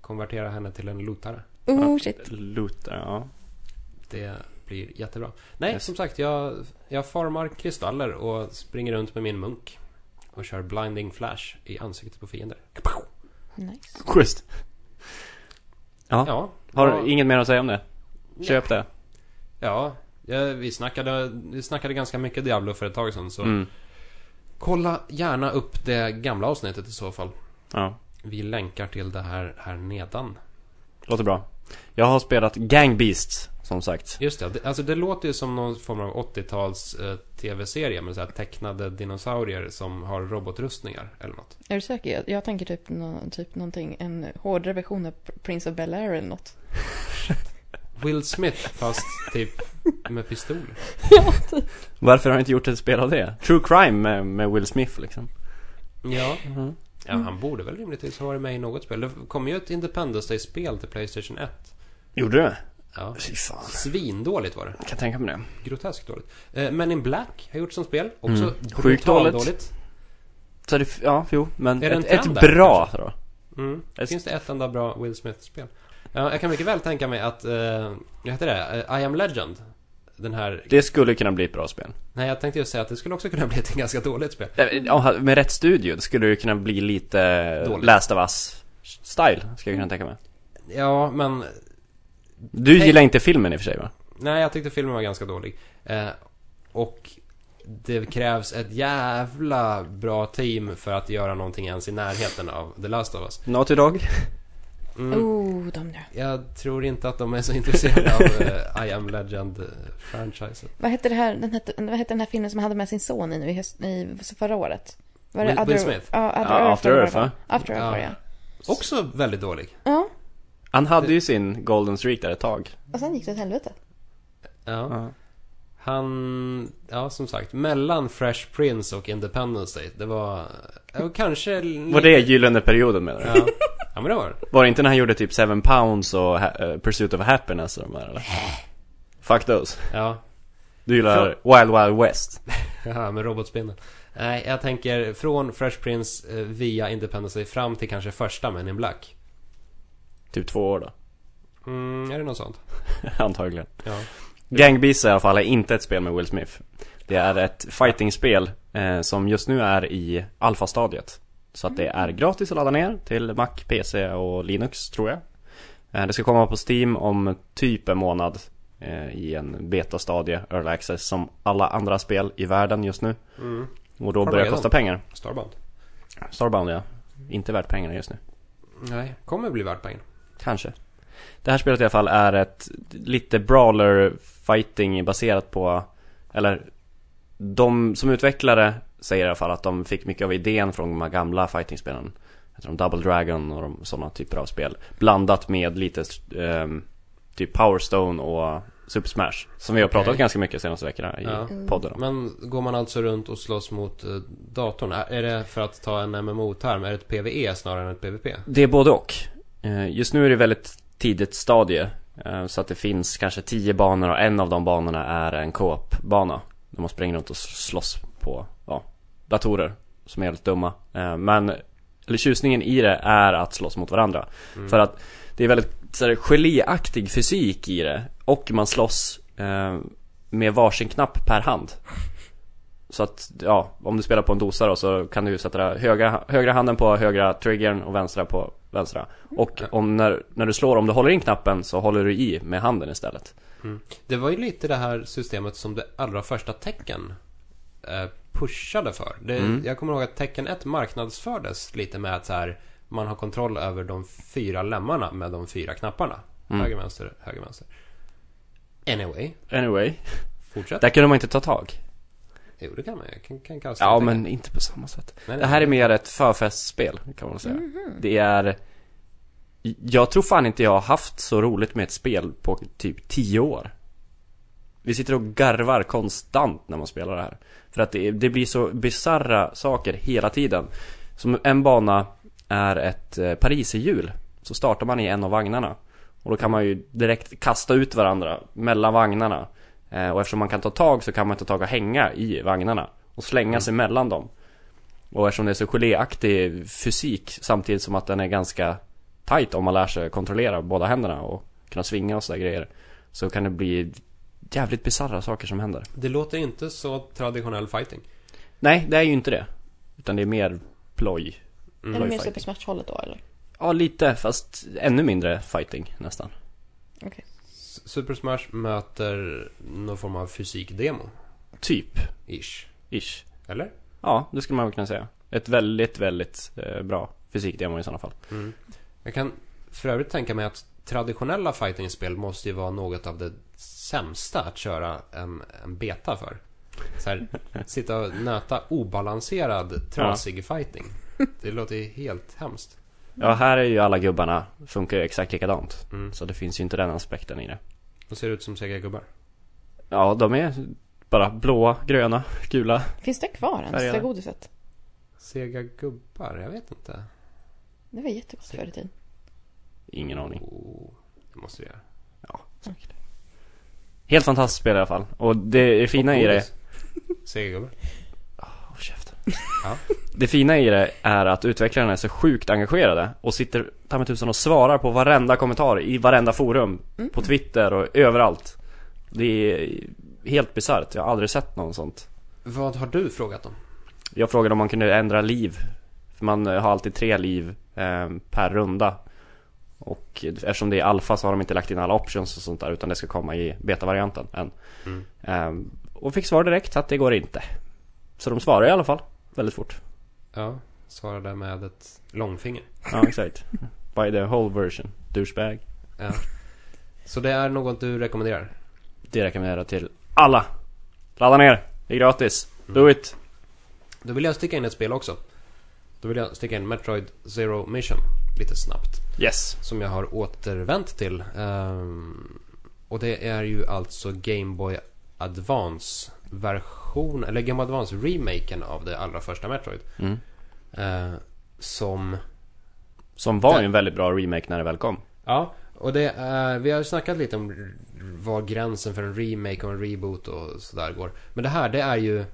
Konvertera henne till en lootare. Oh shit. Loot, ja. Det blir jättebra. Nej, Yes. som sagt, jag, jag formar kristaller och springer runt med min munk. Och kör blinding flash i ansiktet på fiender. Nice. Schysst. Ja. Ja, Har ja, inget mer att säga om det? Köp det. ja, ja vi, snackade, vi snackade ganska mycket Diablo för ett tag sedan. Så Mm. kolla gärna upp det gamla avsnittet i så fall. Ja. Vi länkar till det här, här nedan. Låter bra. Jag har spelat Gang Beasts, som sagt. Just det, det- alltså det låter ju som någon form av 80-tals eh, tv-serie med så här tecknade dinosaurier som har robotrustningar eller något. Är du säker? Jag, jag tänker typ, nå- typ någonting, en hårdare version av Pr- Prince of Bel-Air eller något. Will Smith fast typ med pistol. Varför har jag inte gjort ett spel av det? True Crime med, med Will Smith liksom. Ja. Mhm. ja, han borde väl rimligtvis ha varit med i något spel. Det kom ju ett Independence Day-spel till Playstation 1. Gjorde du? Ja. Fy fan. Svindåligt var det. Jag kan tänka mig det. Groteskt dåligt. Eh, Men in Black har gjort som spel. Också Mm. brutalt Sjukt dåligt. dåligt. Så är det, ja, jo, men Är ett, det en trend ett där, bra då. Mm. Ett- Finns det ett enda bra Will Smith-spel? Ja, jag kan mycket väl tänka mig att... Eh, vad heter det? Eh, I am Legend. Den här... Det skulle kunna bli ett bra spel. Nej, jag tänkte ju säga att det skulle också kunna bli ett ganska dåligt spel. Eh, ja, Med rätt studio det skulle det ju kunna bli lite Dåligt. Mm. Last of Us style, ska jag kunna tänka mig. Ja, men... Du Nej. gillar inte filmen i och för sig va? Nej, jag tyckte filmen var ganska dålig. Eh, och det krävs ett jävla bra team för att göra någonting ens i närheten av The Last of Us. Naughty Dog? Mm. Oh, de där. Jag tror inte att de är så intresserade av eh, I am Legend-franchisen. Vad hette, det här, den hette, vad hette den här filmen som han hade med sin son i nu i, höst, i förra året? Var Will- Will Smith? Ja, Ja, Other Earth, After eller vad Earth, det var. va? After Earth Ja. var det, ja. Också väldigt dålig. Ja, Han hade ju sin Golden Streak där ett tag. och sen gick det åt helvete. Ja. Ja. Han, ja som sagt, mellan Fresh Prince och Independence Day. Det var, det var kanske... Var det gyllene perioden menar du? Ja. ja, men det var det. Var det inte när han gjorde typ 7 pounds och ha- eh, Pursuit of Happiness och de här eller? Fuck those. Ja. Du gillar Wild Wild West. Haha, med robotspindeln. Nej, jag tänker från Fresh Prince eh, via Independence Day fram till kanske första Men in Black. Typ två år då. Mm, är det något sånt? Antagligen. Ja. Gang Beasts i alla fall är inte ett spel med Will Smith. Det är ett fightingspel eh, som just nu är i alfastadiet. Så att Mm. det är gratis att ladda ner till Mac, PC och Linux tror jag. Eh, det ska komma på Steam om typ en månad eh, i en betastadie, early access, som alla andra spel i världen just nu. Mm. Och då Har börjar det redan. kosta pengar. Starbound. Starbound ja. Inte värt pengarna just nu. Nej, kommer bli värt pengar. Kanske. Det här spelet i alla fall är ett lite brawler fighting baserat på, eller de som utvecklare säger i alla fall att de fick mycket av idén från de här gamla fightingspelen. Jag tror de Double Dragon och de, sådana typer av spel. Blandat med lite ehm, typ Power Stone och Super Smash. Som vi har pratat Okej. ganska mycket senaste veckorna i Ja. podden om. Men går man alltså runt och slåss mot eh, datorn? Är är det, för att ta en MMO-term, är det ett PVE snarare än ett PVP? Det är både och. Eh, Just nu är det väldigt tidigt stadie. eh, Så att det finns kanske tio banor och en av de banorna är en co-op-bana. Där man springer runt och slåss på ja, datorer som är helt dumma. Eh, Men eller tjusningen i det är att slåss mot varandra. Mm. För att det är väldigt så här, geléaktig fysik i det. Och man slåss eh, med varsin knapp per hand. Så att, ja, om du spelar på en dosa då så kan du sätta högra, högra handen på högra triggern och vänstra på vänstra. Och om när, när du slår, om du håller in knappen så håller du i med handen istället. Det var ju lite det här systemet som det allra första tecken eh, pushade för. Det, Mm. Jag kommer ihåg att tecken 1 marknadsfördes lite med att så här, man har kontroll över de fyra lemmarna med de fyra knapparna. Mm. Höger, vänster, höger, vänster. Anyway, Anyway, fortsätt. där kunde man inte ta tag. Jo, det kan man ju. Kan, kan kasta Ja, tecken. men inte på samma sätt. Alltså, Nej, Det här är mer ett förfestspel, kan man säga. Det är... Jag tror fan inte jag har haft så roligt med ett spel på typ 10 år. Vi sitter och garvar konstant när man spelar det här. För att det, det blir så bizarra saker hela tiden. Som en bana är ett eh, pariserhjul. Så startar man i en av vagnarna. Och då kan man ju direkt kasta ut varandra mellan vagnarna. Eh, Och eftersom man kan ta tag så kan man ta tag och hänga i vagnarna. Och slänga sig mellan dem. Och eftersom det är så geléaktig fysik samtidigt som att den är ganska tight om man lär sig kontrollera båda händerna och kunna svinga och sådär grejer. Så kan det bli jävligt bisarra saker som händer. Det låter inte så traditionell fighting. Nej, det är ju inte det. Utan det är mer ploj. Är det mer Fighting. Super Smash-hållet då eller? Ja, lite, fast ännu mindre fighting nästan. S- Super Smash möter någon form av fysikdemo. Typ, Ish. ish. Eller? Ja, det skulle man kunna säga. Ett väldigt, väldigt eh, bra fysikdemo i sådana fall. Mm. Jag kan för övrigt tänka mig att traditionella fightingspel måste ju vara något av det sämsta att köra en, en beta för. Så här, sitta och nöta obalanserad, trasig fighting. Det låter ju helt hemskt. Ja, här är ju alla gubbarna, funkar ju exakt likadant. Mm. Så det finns ju inte den aspekten i det. De ser ut som sega gubbar. Ja, de är bara blåa, gröna, gula. Finns det kvar ens, det Färgerna. där godiset? Sega gubbar? Jag vet inte. Det var jättegott förr i tiden. Ingen aning. Oh, det måste vi göra. Helt fantastiskt spel i alla fall. Och det är fina i det... Godis. Sega gubbar. Håll käften. Ja. Det fina i det är att utvecklarna är så sjukt engagerade och sitter ta mig tusan och svarar på varenda kommentar i varenda forum. På Twitter och överallt. Det är helt bisarrt. Jag har aldrig sett någon sånt. Vad har du frågat om? Jag frågade om man kunde ändra liv. För man eh, har alltid tre liv eh, per runda. Och eftersom det är alfa så har de inte lagt in alla options och sånt där utan det ska komma i beta-varianten än. Mm. Ehm, och fick svar direkt att det går inte. Så de svarar i alla fall. Väldigt fort. Ja, svarade med ett långfinger. Ja, exakt. By the whole version. Douchebag. Ja. Så det är något du rekommenderar? Det rekommenderar jag till Mm. alla. Ladda ner. Det är gratis. Do it. Då vill jag sticka in ett spel också. Då vill jag sticka in Metroid Zero Mission lite snabbt. Yes. Som jag har återvänt till. Ehm, och det är ju alltså Game Boy Advance version, eller Game Boy Advance remaken av det allra första Metroid. Mm. Eh, som Som var ju en väldigt bra remake när det väl kom. Ja, och det är, vi har ju snackat lite om r- var gränsen för en remake och en reboot och sådär går. Men det här, det är ju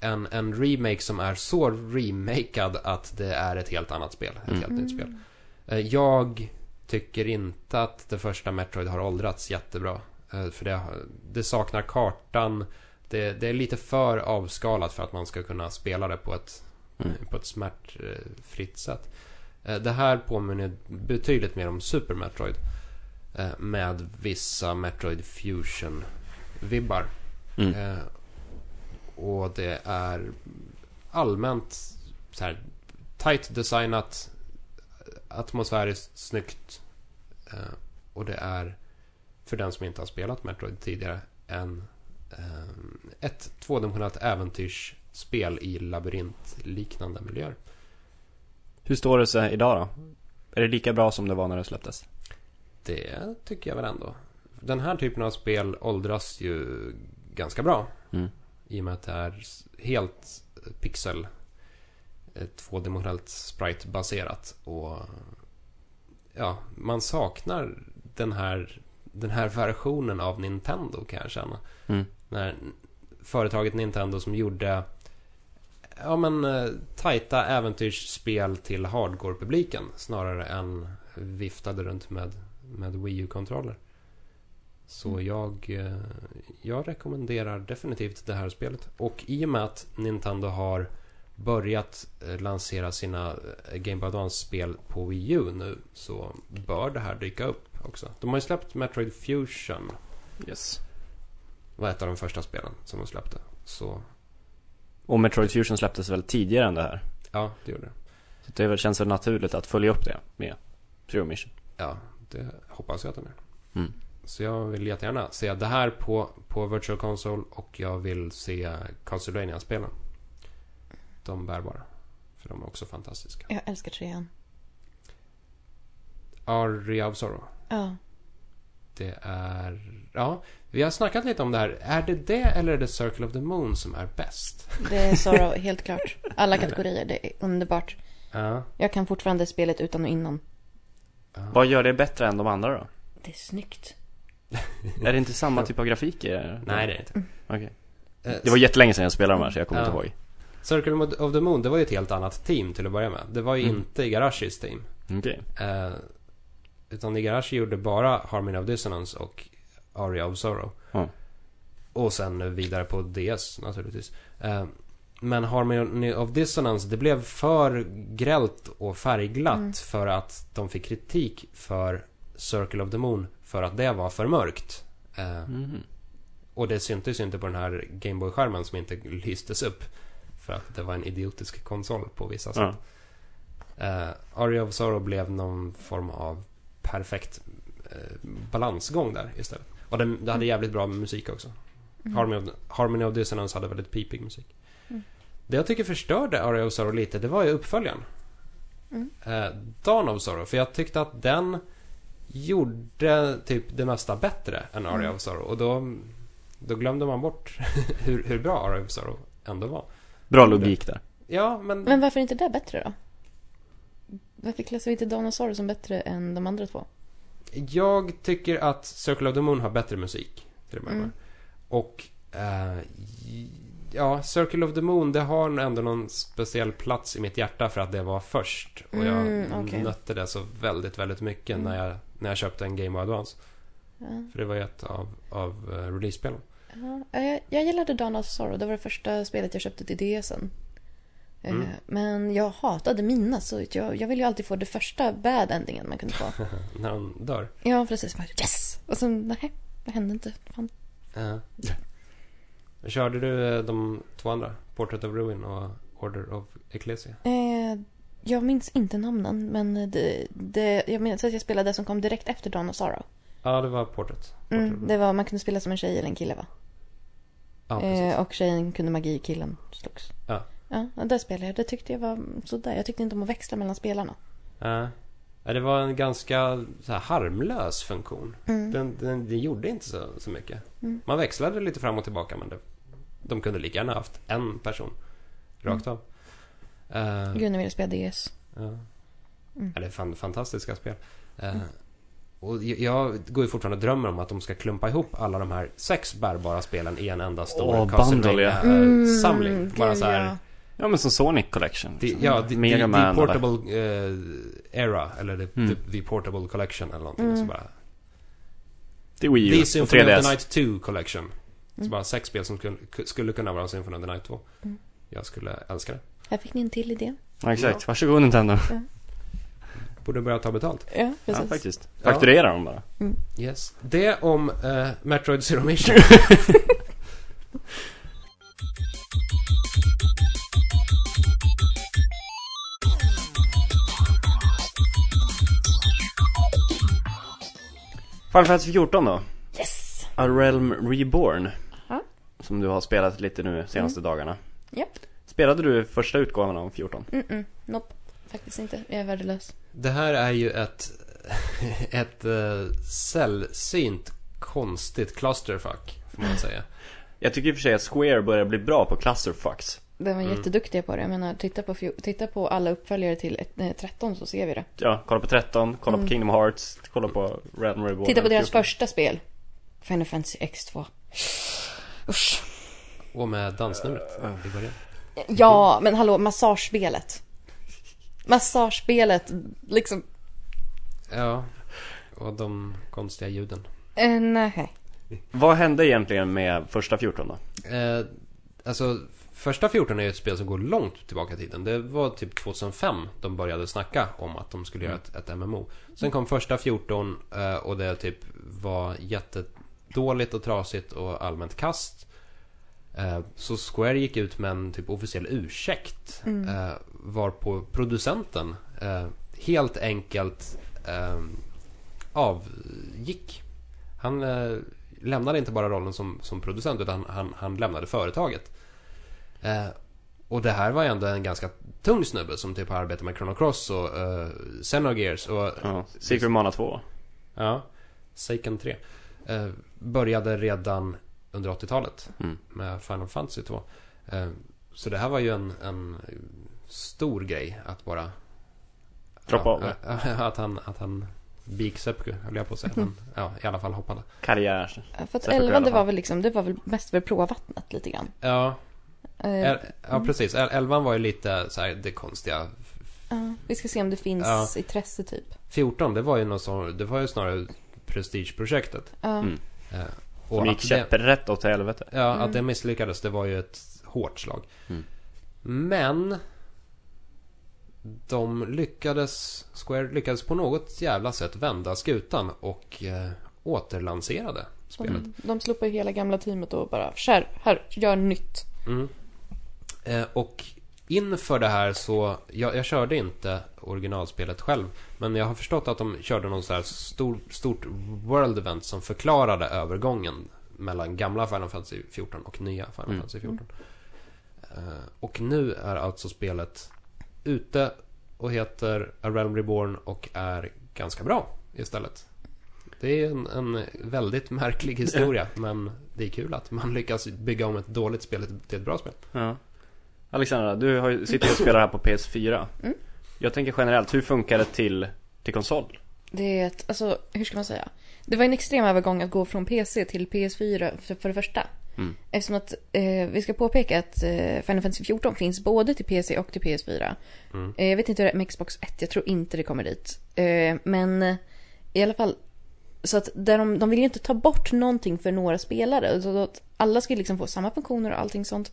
en, en remake som är så remakad att det är ett helt annat spel. Ett Mm. helt nytt spel. Eh, Jag tycker inte att det första Metroid har åldrats jättebra. Eh, För det, har- det saknar kartan. Det, det är lite för avskalat för att man ska kunna spela det på ett, Mm. på ett smärtfritt sätt. Eh, Det här påminner betydligt mer om Super Metroid. eh, Med vissa Metroid Fusion-vibbar. Mm. Eh, Och det är allmänt så här tight designat, atmosfäriskt snyggt. Eh, Och det är, för den som inte har spelat Metroid tidigare, en, eh, ett tvådimensionellt äventyrsspel i labyrintliknande miljöer. Hur står det sig idag då? Är det lika bra som det var när det släpptes? Det tycker jag väl ändå. Den här typen av spel åldras ju ganska bra. Mm. I och med att det är s- helt pixel eh, tvådimensionellt sprite-baserat. Och ja, man saknar den här, den här versionen av Nintendo kan jag känna. Mm. När företaget Nintendo som gjorde ja, men, eh, tajta äventyrsspel till hardcore-publiken snarare än viftade runt med, med Wii U-kontroller. Så jag, eh, jag rekommenderar definitivt det här spelet. Och i och med att Nintendo har börjat eh, lansera sina eh, Game Boy Advance-spel på Wii U nu så bör det här dyka upp också. De har ju släppt Metroid Fusion Yes. var ett av de första spelen som de släppte. Så Och Metroid Fusion släpptes väl tidigare än det här? ja, det gjorde det. Så det är väl- känns väl naturligt att följa upp det med Zero Mission. Ja, det hoppas jag att de gör. Mm. Så jag vill jättegärna se det här på, på Virtual Console och jag vill se castlevania spelen De bärbara. För de är också fantastiska. Jag älskar trean. Aria of Sorrow. Ja. Det är... Ja, vi har snackat lite om det här. Är det det eller är det Circle of the Moon som är bäst? Det är Sorrow, helt klart. Alla kategorier, det är underbart. Ja. Jag kan fortfarande spelet utan och innan. Vad gör det bättre än de andra då? Det är snyggt. Är det inte samma typ av grafik i det? Nej, det är det inte. Okej. Eh, Det var jättelänge sedan jag spelade de här så jag kommer Ja. inte ihåg. Eh, Circle of the Moon, det var ju ett helt annat team till att börja med. Det var ju Mm. inte Igarashis team. Okej. Eh, utan Igarashi gjorde bara Harmony of Dissonance och Aria of Sorrow. Ja. Och sen vidare på DS naturligtvis. Eh, Men Harmony of Dissonance, det blev för grällt och färgglatt för att de fick kritik för Circle of the Moon för att det var för mörkt. Eh, Mhm. och det syntes ju inte på den här Gameboy-skärmen som inte lystes upp. För att det var en idiotisk konsol på vissa sätt. Ja. Eh, Aria of Sorrow blev någon form av perfekt eh, balansgång där istället. Och den, det hade Mm. jävligt bra musik också. Harmony, of, Harmony of Dissonance hade väldigt pipig musik. Mm. Det jag tycker förstörde Aria of Sorrow lite, det var ju uppföljaren. Mm. Eh, Dawn of Sorrow, för jag tyckte att den gjorde typ det mesta bättre än Aria Mm. of Sorrow. Och då, då glömde man bort hur, hur bra Aria of Sorrow ändå var. Bra logik där. Ja, men... Men varför är inte det bättre då? Varför klassar vi inte Dawn of Sorrow som bättre än de andra två? Jag tycker att Circle of the Moon har bättre musik. Till och med. Mm. Och... eh, j- ja, Circle of the Moon, det har ändå någon speciell plats i mitt hjärta för att det var först. Och jag Mm, okej. nötte det så väldigt, väldigt mycket Mm. när, jag, när jag köpte en Game Boy Advance. Ja. För det var ju ett av, av eh, release-spelen. Ja, eh, jag gillade Dawn of Sorrow. Det var det första spelet jag köpte till DSen. Eh, Mm. Men jag hatade mina, så jag, jag ville ju alltid få det första bad endingen man kunde få. När hon dör. ja, precis. Bara, yes! Och sen, nej, det hände inte. Fan. Eh, Körde du eh, de två andra? Portrait of Ruin och Order of Ecclesia? Eh, jag minns inte namnen, men det, det, jag minns att jag spelade det som kom direkt efter Dawn of Sorrow. Ja, det var Portrait. Portrait of Mm, Ruin. det var, man kunde spela som en tjej eller en kille, va? ja, precis. eh, och tjejen kunde magi, killen slogs. Ja. Ja, och det spelade jag. Det tyckte jag var sådär. Jag tyckte inte om att växla mellan spelarna. Ja. Ja, det var en ganska så här, harmlös funktion. Mm. Den, den, den gjorde inte så, så mycket. Mm. Man växlade lite fram och tillbaka men det, de kunde lika gärna haft en person. Rakt av. Eh, Mm. Gud, nu vill jag spela DS. ja. Mm. ja, det är fan, fantastiska spel. Eh, Och jag- jag går ju fortfarande och drömmer om att de ska klumpa ihop alla de här sex bärbara spelen i en enda stor Åh, bundle, ja. Castlevania-samling. Mm, Eh, Bara gud, så här, ja. Ja men som Sonic Collection. The, liksom. ja, the, the, Mega the Man eller- Portable eh, Era eller the, Mm. the, the Portable Collection eller någonting. Mm. Så bara, Det är Wii U the och Symphony of 3DS. the Night 2 Collection. Så Mm. bara sex spel som skulle, skulle kunna vara Symphony of the Night 2. Mm. Jag skulle älska det. Här fick ni en till idé. Ja, exakt. Varsågod Nintendo. Borde börja ta betalt. Ja, Ja, precis. faktiskt. Fakturera dem bara. Yes. Det om eh, Metroid Zero Mission. Final Fantasy 14 då. yes! A Realm Reborn. Aha. Som du har spelat lite nu senaste dagarna. Mm. Japp. Spelade du första utgåvan av 14? Mm-mm. Nope. Faktiskt inte. Jag är värdelös. Det här är ju ett, ett eh, sällsynt konstigt clusterfuck. Får man säga. Jag tycker i och för sig att Square börjar bli bra på clusterfucks. De var Mm. jätteduktiga på det. Jag menar, titta på, fjo- titta på alla uppföljare till ett, eh, 13 så ser vi det. Ja, kolla på 13, kolla Mm. på Kingdom Hearts, kolla på Realm Reborn. titta på deras 14. första spel. Final Fantasy X2. Usch. Och med dansnumret i början. Mm. Ja, men hallå, massagespelet. Massagespelet, liksom. Ja. Och de konstiga ljuden. Eh, nej. Vad hände egentligen med första 14 då? Eh, alltså, första 14 är ju ett spel som går långt tillbaka i tiden. Det var typ 2005 de började snacka om att de skulle göra ett, ett MMO. Sen kom första 14 eh, och det typ var jättedåligt och trasigt och allmänt kast. Eh, Så Square gick ut med en typ officiell ursäkt eh, varpå producenten eh, helt enkelt eh, avgick. Han eh, lämnade inte bara rollen som, som producent utan han, han lämnade företaget. Eh, och det här var ändå en ganska tung snubbe som typ har arbetat med Chrono Cross och eh, Xenogears och Ja, Secret Mana 2. Ja, Seiken 3. Eh, började redan under 80-talet Mm. med Final Fantasy 2. Eh, så det här var ju en, en stor grej att bara... Droppa av det. ja, ja, att han... Att han Biksepuku, höll jag på att säga. Men, ja, i alla fall hoppade. Karriär. Eh, För att Särskilt i alla 11 det var fall. väl liksom, det var väl mest för plåvattnet lite grann. Ja, Eh, el, ja precis. El- Elvan var ju lite så här, det konstiga. ja, vi ska se om det finns Ja. intresse typ. 14, det var ju något som, Det var ju snarare prestigeprojektet. Ja. Mm. Eh, Som gick att det- käpprätt åt helvete. Ja, att det misslyckades, det var ju ett hårt slag. Mm. Men de lyckades, Square lyckades på något jävla sätt vända skutan och eh, återlanserade spelet. De, de slog på hela gamla teamet och bara kör, här, gör nytt. Mm. Eh, och inför det här så, jag, jag körde inte originalspelet själv. Men jag har förstått att de körde någon så här stor, stort world event som förklarade övergången mellan gamla Final Fantasy 14 och nya Final Mm. Fantasy 14. Eh, och nu är alltså spelet ute och heter A Realm Reborn och är ganska bra istället. Det är en, en väldigt märklig historia men det är kul att man lyckas bygga om ett dåligt spel till ett bra spel. Ja. Alexandra, du har, ju- sitter ju och spelar här på PS4. Mm. Jag tänker generellt, hur funkar det till, till konsol? Det är ett, alltså hur ska man säga? Det var en extrem övergång att gå från PC till PS4 för, för det första. Mm. Eftersom att eh, vi ska påpeka att eh, Final Fantasy 14 finns både till PC och till PS4. Mm. Eh, jag vet inte hur det är med Xbox 1, jag tror inte det kommer dit. Eh, men eh, i alla fall, så att där de, de vill ju inte ta bort någonting för några spelare. Så att alla ska ju liksom få samma funktioner och allting sånt.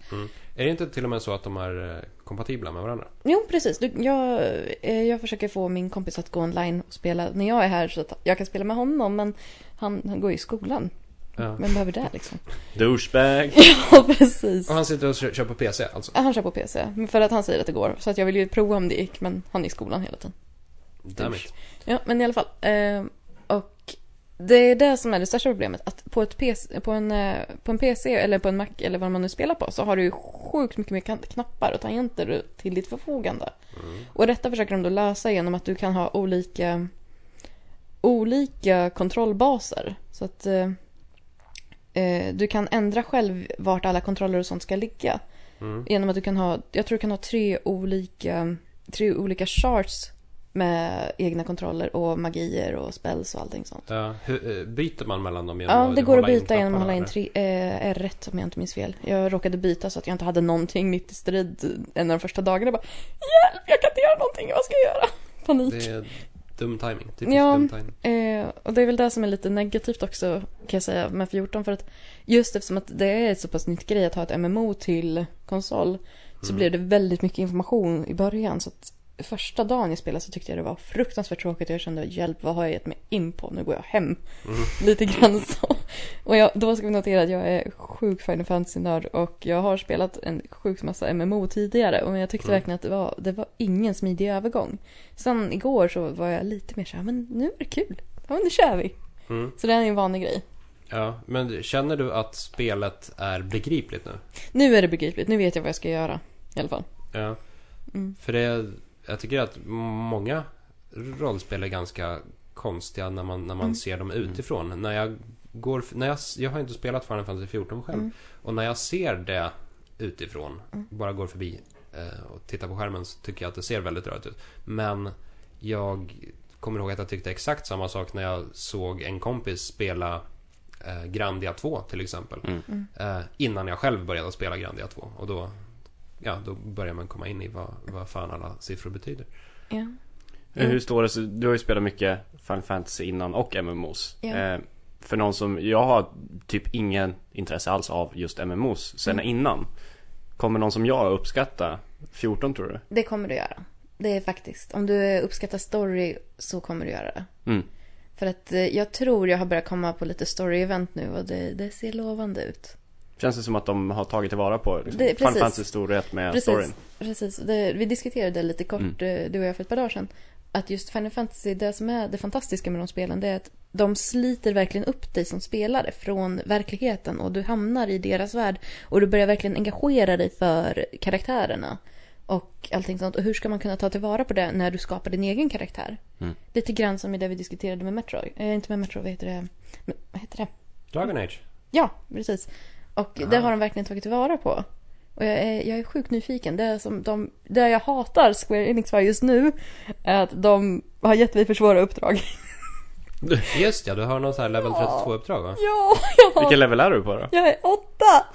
Är det inte till och med så att de är eh, kompatibla med varandra? Jo, precis. Du, jag, eh, jag försöker få min kompis att gå online och spela när jag är här så att jag kan spela med honom. Men han, han går ju i skolan. Ja. Vem behöver det liksom? Douchebag! Ja, precis. Och han sitter och kö- kör på PC alltså? Han kör på PC, men för att han säger att det går. Så att jag vill ju prova om det gick, men han är i skolan hela tiden. Damn it. Ja, men i alla fall. Eh, och det är det som är det största problemet. Att på, ett PC, på, en, eh, på en PC eller på en Mac eller vad man nu spelar på så har du ju sjukt mycket mer kan- knappar och tangenter till ditt förfogande. Och detta försöker de då lösa genom att du kan ha olika olika kontrollbaser. Så att eh, eh, du kan ändra själv vart alla kontroller och sånt ska ligga. Mm. Genom att du kan ha, jag tror du kan ha tre olika, tre olika charts med egna kontroller och magier och spells och allting sånt. Ja, hur, eh, byter man mellan dem genom Ja, det går att hålla in byta genom att knapparna, hålla in eller? tre, eh, R1 om jag inte minns fel. Jag råkade byta så att jag inte hade någonting mitt i strid en av de första dagarna. Jag bara Hjälp, jag kan inte göra någonting, vad ska jag göra? Panik. Det är dum timing. Typiskt Ja. dum timing. Eh, och det är väl det som är lite negativt också kan jag säga med 14 för att just eftersom att det är ett så pass nytt grej att ha ett MMO till konsol så Mm. blev det väldigt mycket information i början så att första dagen jag spelade så tyckte jag det var fruktansvärt tråkigt och jag kände hjälp vad har jag gett mig in på nu går jag hem. Mm. Lite grann så. Och jag, då ska vi notera att jag är sjuk Final Fantasy-nörd och jag har spelat en sjuk massa MMO tidigare och jag tyckte Mm. verkligen att det var, det var ingen smidig övergång. Sen igår så var jag lite mer såhär, men nu är det kul. Ja, men nu kör vi. Mm. Så det är en vanlig grej. Ja, men du- känner du att spelet är begripligt nu? Nu är det begripligt, nu vet jag vad jag ska göra. I alla fall. Ja. Mm. För det, jag tycker att många rollspel är ganska konstiga när man, när man Mm. ser dem utifrån. När jag går, när jag, jag har inte spelat Final Fantasy 14 själv. Mm. Och när jag ser det utifrån, Mm. bara går förbi eh, och tittar på skärmen så tycker jag att det ser väldigt rörigt ut. Men jag kommer ihåg att jag tyckte exakt samma sak när jag såg en kompis spela eh, Grandia 2 till exempel. Mm. Mm. Eh, innan jag själv började spela Grandia 2. Och då, ja, då börjar man komma in i vad, vad fan alla siffror betyder. Ja. Mm. Hur hur står det sig? Du har ju spelat mycket Final Fantasy innan och MMOs. Ja. Eh, för någon som, jag har typ ingen intresse alls av just MMOs sen Mm. innan. Kommer någon som jag uppskatta 14 tror du? Det kommer du göra. Det är faktiskt. Om du uppskattar story så kommer du göra det. Mm. För att eh, jag tror jag har börjat komma på lite story-event nu och det, det ser lovande ut. Känns det som att de har tagit tillvara på liksom, Det- Final precis. Fantasy storhet med Precis. storyn? Precis, det, vi diskuterade det lite kort Mm. eh, du och jag för ett par dagar sedan. Att just Final Fantasy, det som är det fantastiska med de spelen det är att de sliter verkligen upp dig som spelare från verkligheten och du hamnar i deras värld och du börjar verkligen engagera dig för karaktärerna och allting sånt. Och hur ska man kunna ta tillvara på det när du skapar din egen karaktär? Mm. Lite grann som i det vi diskuterade med Metroid. Eh, inte med Metroid, vad heter det? Men, vad heter det? Mm. Dragon Age. Ja, precis. Och Aha. det har de verkligen tagit tillvara på. Och jag är, jag är sjukt nyfiken. Det, som de, det jag hatar Square Enix för just nu är att de har gett mig för svåra uppdrag. Just ja, du har något så här level Ja. 32-uppdrag va? Ja, jag, Vilken har, level är du på då? jag är åtta!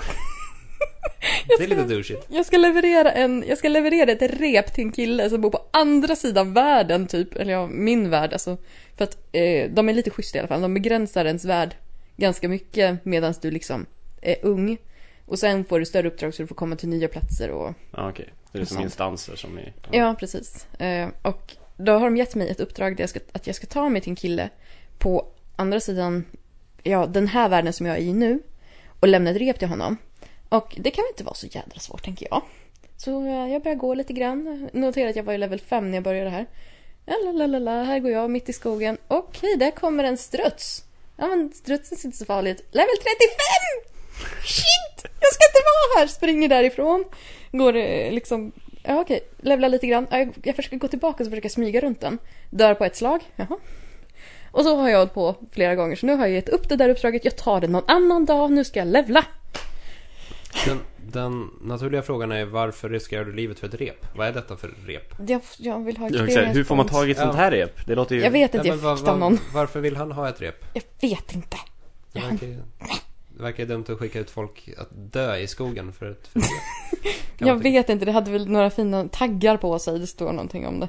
Det är lite douchigt. Jag ska, leverera en, jag ska leverera ett rep till en kille som bor på andra sidan världen typ, eller ja, min värld alltså. För att eh, de är lite schyssta i alla fall, de begränsar ens värld ganska mycket medan du liksom är ung. Och sen får du större uppdrag så du får komma till nya platser och Ja, okej. Det är som Sant. instanser som i... Ja, precis. Eh, Och då har de gett mig ett uppdrag där jag ska, att jag ska ta mig till en kille på andra sidan ja, den här världen som jag är i nu och lämna ett rep till honom. Och det kan väl inte vara så jädra svårt, tänker jag. Så eh, jag börjar gå lite grann. Notera att jag var i level 5 när jag började här. Ja, La, la, la, la, här går jag mitt i skogen. Okej, där kommer en struts. Ja, men strutsen ser inte så farlig ut. Level 35! Shit! Jag ska inte vara här! Springer därifrån. Går eh, liksom... Ja, okej. Levlar lite grann. Ja, jag, jag försöker gå tillbaka och försöka smyga runt den. Dör på ett slag. Jaha. Och så har jag hållit på flera gånger. Så nu har jag gett upp det där uppdraget. Jag tar det någon annan dag. Nu ska jag levla. Den, den naturliga frågan är varför riskerar du livet för ett rep? Vad är detta för rep? Jag, jag vill ha Jag vill säga, hur får man tag i ett sånt här rep? Det låter ju... Jag vet inte. Ja, men Jag vad- fick det av vad- någon. Varför vill han ha ett rep? Jag vet inte. Det verkar, ju- det verkar ju dumt att skicka ut folk att dö i skogen för ett, för ett rep. Kan Jag man tycka. vet inte. Det hade väl några fina taggar på sig. Det står någonting om det.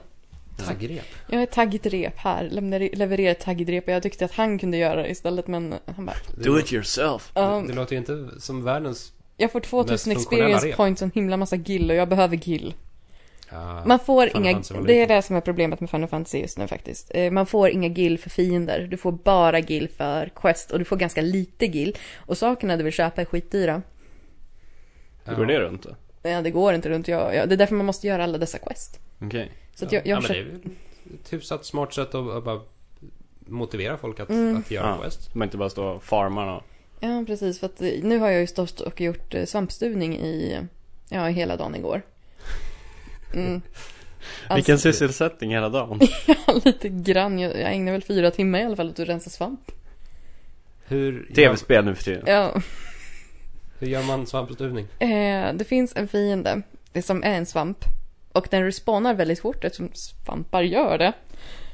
Taggrep? Jag har ett taggigt rep här. Lämnar, levererar ett taggigt rep. Och jag tyckte att han kunde göra det istället. Men han bara... Det, Do lå- it yourself! "Ehm, det låter ju inte som världens... Jag får 2000 Mest funktionella experience rep. points och en himla massa gill och jag behöver gill. Ah, Man får Final inga, Fantasy var det är liten. det som är problemet med Final Fantasy just nu faktiskt. Eh, Man får inga gill för fiender, du får bara gill för quest och du får ganska lite gill. Och sakerna du vill köpa är skitdyra. Hur går det runt då? Ja, det går inte runt, jag, jag, det är därför man måste göra alla dessa quest. Okej. Så att jag, jag ja, men det är försöker, ju ett hyfsat smart sätt att, att bara motivera folk att, Mm. att göra Ja. quest. Man inte bara står och farmar och... ja precis, för att eh, nu har jag ju stått och gjort eh, svampstuvning i, ja, i hela dagen igår. Mm. Vilken Alltså, sysselsättning hela dagen. lite grann, jag, jag ägnar väl fyra timmar i alla fall åt att rensa svamp. Hur gör, Tv-spel nu för tiden. Ja. hur gör man svampstuvning? Eh, det finns en fiende som är en svamp. Och den respawnar väldigt fort eftersom svampar gör det.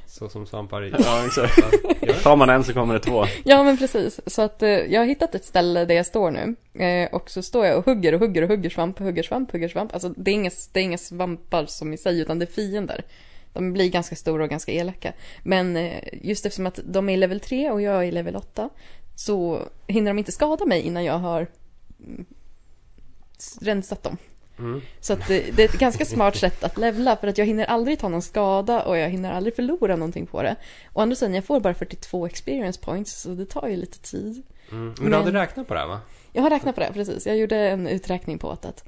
Så som svampar i... Ja, exakt. Ja, gör. Tar man en så kommer det två. Ja men precis. Så att eh, jag har hittat ett ställe där jag står nu. Eh, och så står jag och hugger och hugger och hugger svamp, hugger svamp, hugger svamp. Alltså det är inga, det är inga svampar som i sig utan det är fiender. De blir ganska stora och ganska elaka. Men eh, just eftersom att de är i level 3 och jag är i level 8 så hinner de inte skada mig innan jag har mm, s- rensat dem. Mm. Så att eh, det, det är ett ganska smart sätt att levla för att jag hinner aldrig ta någon skada och jag hinner aldrig förlora någonting på det. Å andra sidan, jag får bara 42 experience points så det tar ju lite tid. Mm. Men du Men- hade räknat på det här va? Jag har räknat på det, precis. Jag gjorde en uträkning på att, att,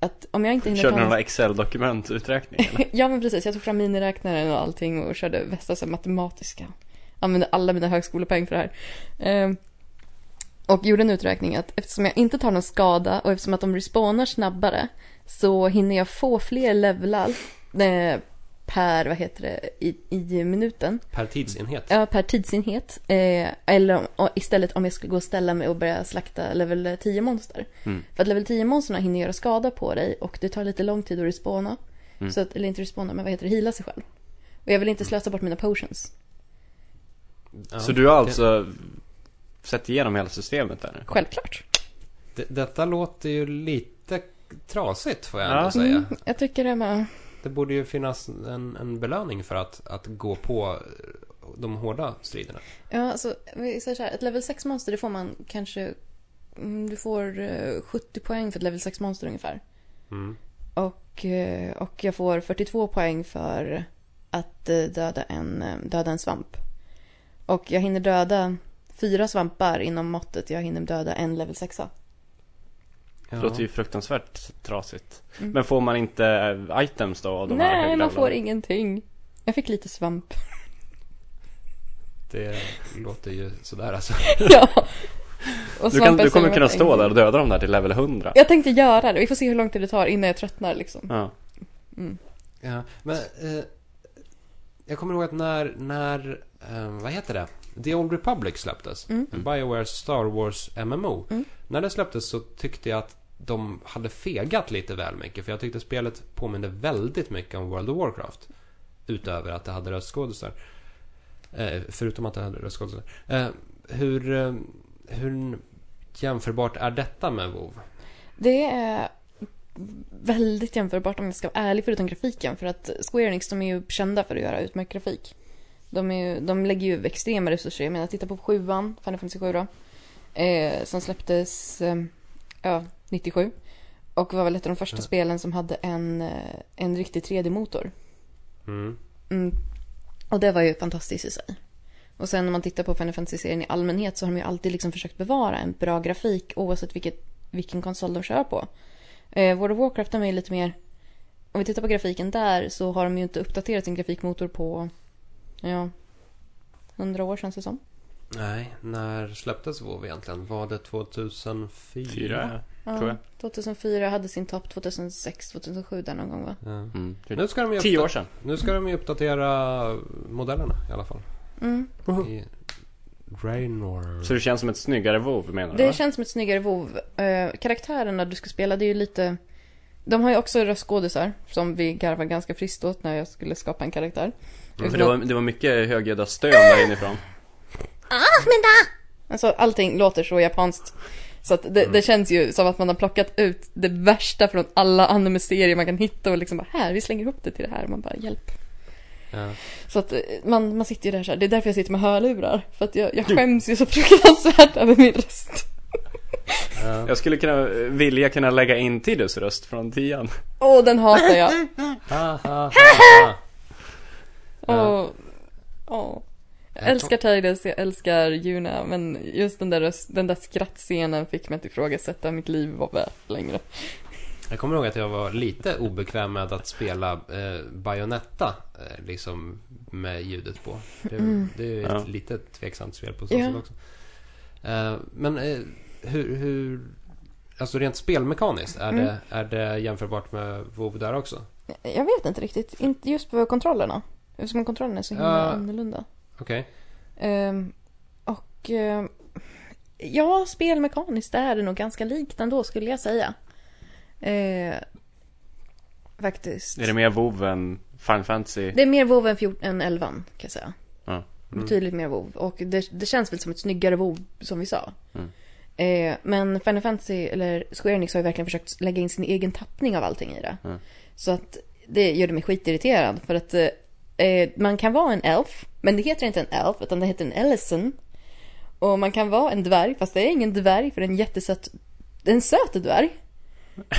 att om jag inte hinner Körde ta några Excel-dokument uträkning eller? Ja men precis, jag tog fram miniräknaren och allting och körde bästa så här matematiska. Använde alla mina högskolepoäng för det här. Ehm, och gjorde en uträkning att eftersom jag inte tar någon skada och eftersom att de respawnar snabbare så hinner jag få fler levlar eh, per, vad heter det, i, i minuten. Per tidsenhet? Ja, per tidsenhet. Eh, eller om, och istället om jag skulle gå och ställa mig och börja slakta level 10-monster. Mm. För att level 10-monsterna hinner göra skada på dig och det tar lite lång tid att respawna. Mm. Så att, eller inte respawna, men vad heter det, hila sig själv. Och jag vill inte slösa bort mina potions. Ja. Så du har alltså sett igenom hela systemet där nu? Självklart. Det, detta låter ju lite trasigt får jag ändå Ja. säga. Mm, jag tycker det med. Det borde ju finnas en, en belöning för att, att gå på eh, de hårda striderna. Ja, alltså, vi säger så här, ett level 6-monster det får man kanske... mm, Du får eh, 70 poäng för ett level 6-monster ungefär. Mm. Och, eh, och jag får 42 poäng för att eh, döda en, eh, döda en svamp. Och jag hinner döda fyra svampar inom måttet. Jag hinner döda en level 6 Det Ja. låter ju fruktansvärt trasigt. Mm. Men får man inte eh, items då av de här Nej, högre man får levelarna? ingenting. Jag fick lite svamp. Det låter ju sådär alltså. ja. Och Du, kan, svampen du kommer säger kunna att- stå där och döda dem där till level 100. Jag tänkte göra det. Vi får se hur lång tid det tar innan jag tröttnar liksom. Ja. Mm. Ja, men eh, jag kommer ihåg att när, när eh, vad heter det? The Old Republic släpptes. Mm. Biowares Star Wars MMO. Mm. När det släpptes så tyckte jag att de hade fegat lite väl mycket. För jag tyckte spelet påminde väldigt mycket om World of Warcraft. Utöver att det hade röstskådisar. Eh, förutom att det hade röstskådisar. Eh, hur, eh, hur jämförbart är detta med WoW? Det är väldigt jämförbart om jag ska vara ärlig förutom grafiken. För att Square Enix de är ju kända för att göra utmärkt grafik. De, är ju, de lägger ju extrema resurser. Jag menar titta på sjuan, Final Fantasy 7 då. Eh, som släpptes eh, ja, 97. Och var väl ett av de första spelen som hade en, eh, en riktig 3D-motor. Mm. Mm. Och det var ju fantastiskt i sig. Och sen om man tittar på Final Fantasy-serien i allmänhet så har de ju alltid liksom försökt bevara en bra grafik oavsett vilket, vilken konsol de kör på. Eh, World of Warcraft de är ju lite mer... Om vi tittar på grafiken där så har de ju inte uppdaterat sin grafikmotor på... Ja... 100 år känns det som. Nej, när släpptes WoW egentligen? Var det 2004? Fyra, Ja, tror jag. 2004 hade sin topp, 2006, 2007 där någon gång va? Ja. Mm. Nu ska de ju Tio uppda- år sedan. Nu ska de ju uppdatera modellerna i alla fall. Mm. I Raynor. Så det känns som ett snyggare WoW menar du? Det va? känns som ett snyggare WoW. Eh, Karaktärerna du ska spela, det är ju lite... De har ju också röstskådisar som vi garvade ganska friskt åt när jag skulle skapa en karaktär. Mm. För det, var, det var mycket högljudda stön där inifrån. Alltså allting låter så japanskt. Så att det, Mm. det känns ju som att man har plockat ut det värsta från alla anime-serier man kan hitta och liksom bara här, vi slänger ihop det till det här. Och man bara hjälp. Ja. Så att eh, man, man sitter ju där så här. Det är därför jag sitter med hörlurar. För att jag, jag skäms ju så fruktansvärt över min röst. Ja. Jag skulle kunna, vilja kunna lägga in Tidus röst från tian. Åh, den hatar jag. Ha, ha, ha, ha. Åh. Åh. Jag Jag älskar Tidus, jag älskar Juna, men just den där, röst, den där skrattscenen fick mig att ifrågasätta mitt liv var värt längre. Jag kommer ihåg att jag var lite obekväm med att spela eh, Bayonetta eh, liksom med ljudet på. Det, det är ju ett Ja. lite tveksamt spel på så sätt Mm. Ja. också. Eh, men eh, hur, hur... Alltså rent spelmekaniskt, är, Mm. det, är det jämförbart med WoW där också? Jag vet inte riktigt, inte just på kontrollerna. Eftersom kontrollerna är så himla Ja. annorlunda. Okej. Ehm, och ehm, ja, spelmekaniskt är det nog ganska likt ändå skulle jag säga. Ehm, faktiskt. Är det mer WoW än Final Fantasy? Det är mer WoW än, 14, än 11 kan jag säga. Ja. Mm. Betydligt mer WoW. Och det, det känns väl som ett snyggare WoW som vi sa. Mm. Eh, men Final Fantasy, eller Square Enix har ju verkligen försökt lägga in sin egen tappning av allting i det. Mm. Så att det gjorde mig skitirriterad. För att eh, man kan vara en elf, men det heter inte en elf utan det heter en ellison. Och man kan vara en dvärg, fast det är ingen dvärg för det är en jättesöt, det är en söt dvärg.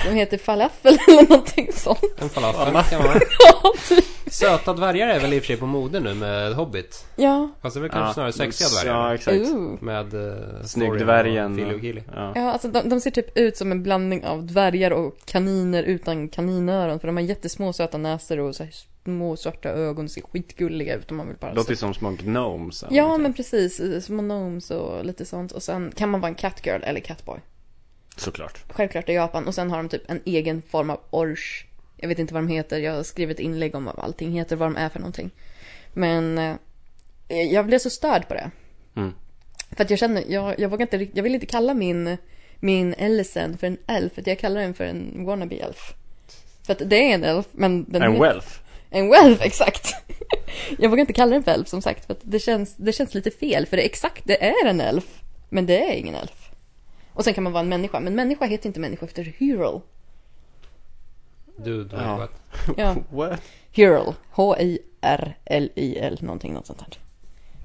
Som heter falafel eller någonting sånt. En falafel kan vara. Ja, typ. Söta dvärgar är väl i och för sig på mode nu med Hobbit. ja. Fast det är väl kanske snarare sexiga Ja, dvärgar. exakt. Ooh. Med eh, Snyggdvärgen. Fili och Kili. Ja. Ja, alltså de, de ser typ ut som en blandning av dvärgar och kaniner utan kaninöron. För de har jättesmå söta näsor och så här små svarta ögon. Ser skitgulliga ut om man vill bara Låter ju se. som små gnomes. eller Ja, någonting. men precis. eh, Små gnomes och lite sånt. Och sen kan man vara en catgirl eller catboy. Såklart. Självklart i Japan. Och sen har de typ en egen form av orch. Jag vet inte vad de heter. Jag har skrivit inlägg om vad allting heter, vad de är för någonting. Men eh, jag blev så störd på det. Mm. För att jag känner, jag, jag vågar inte rikt- jag vill inte kalla min, min Ellison för en elf, utan jag kallar den för en wannabe elf. För att det är en elf, men den En heter- wealth. En welf, exakt. jag vågar inte kalla den för elf som sagt, för att det känns, det känns lite fel, för det är exakt, det är en elf, men det är ingen elf. Och sen kan man vara en människa, men människa heter inte människa efter hero. Du, du Ja. ja. Ja, What? hero. H-I-R-L-I-L, någonting, något sånt där.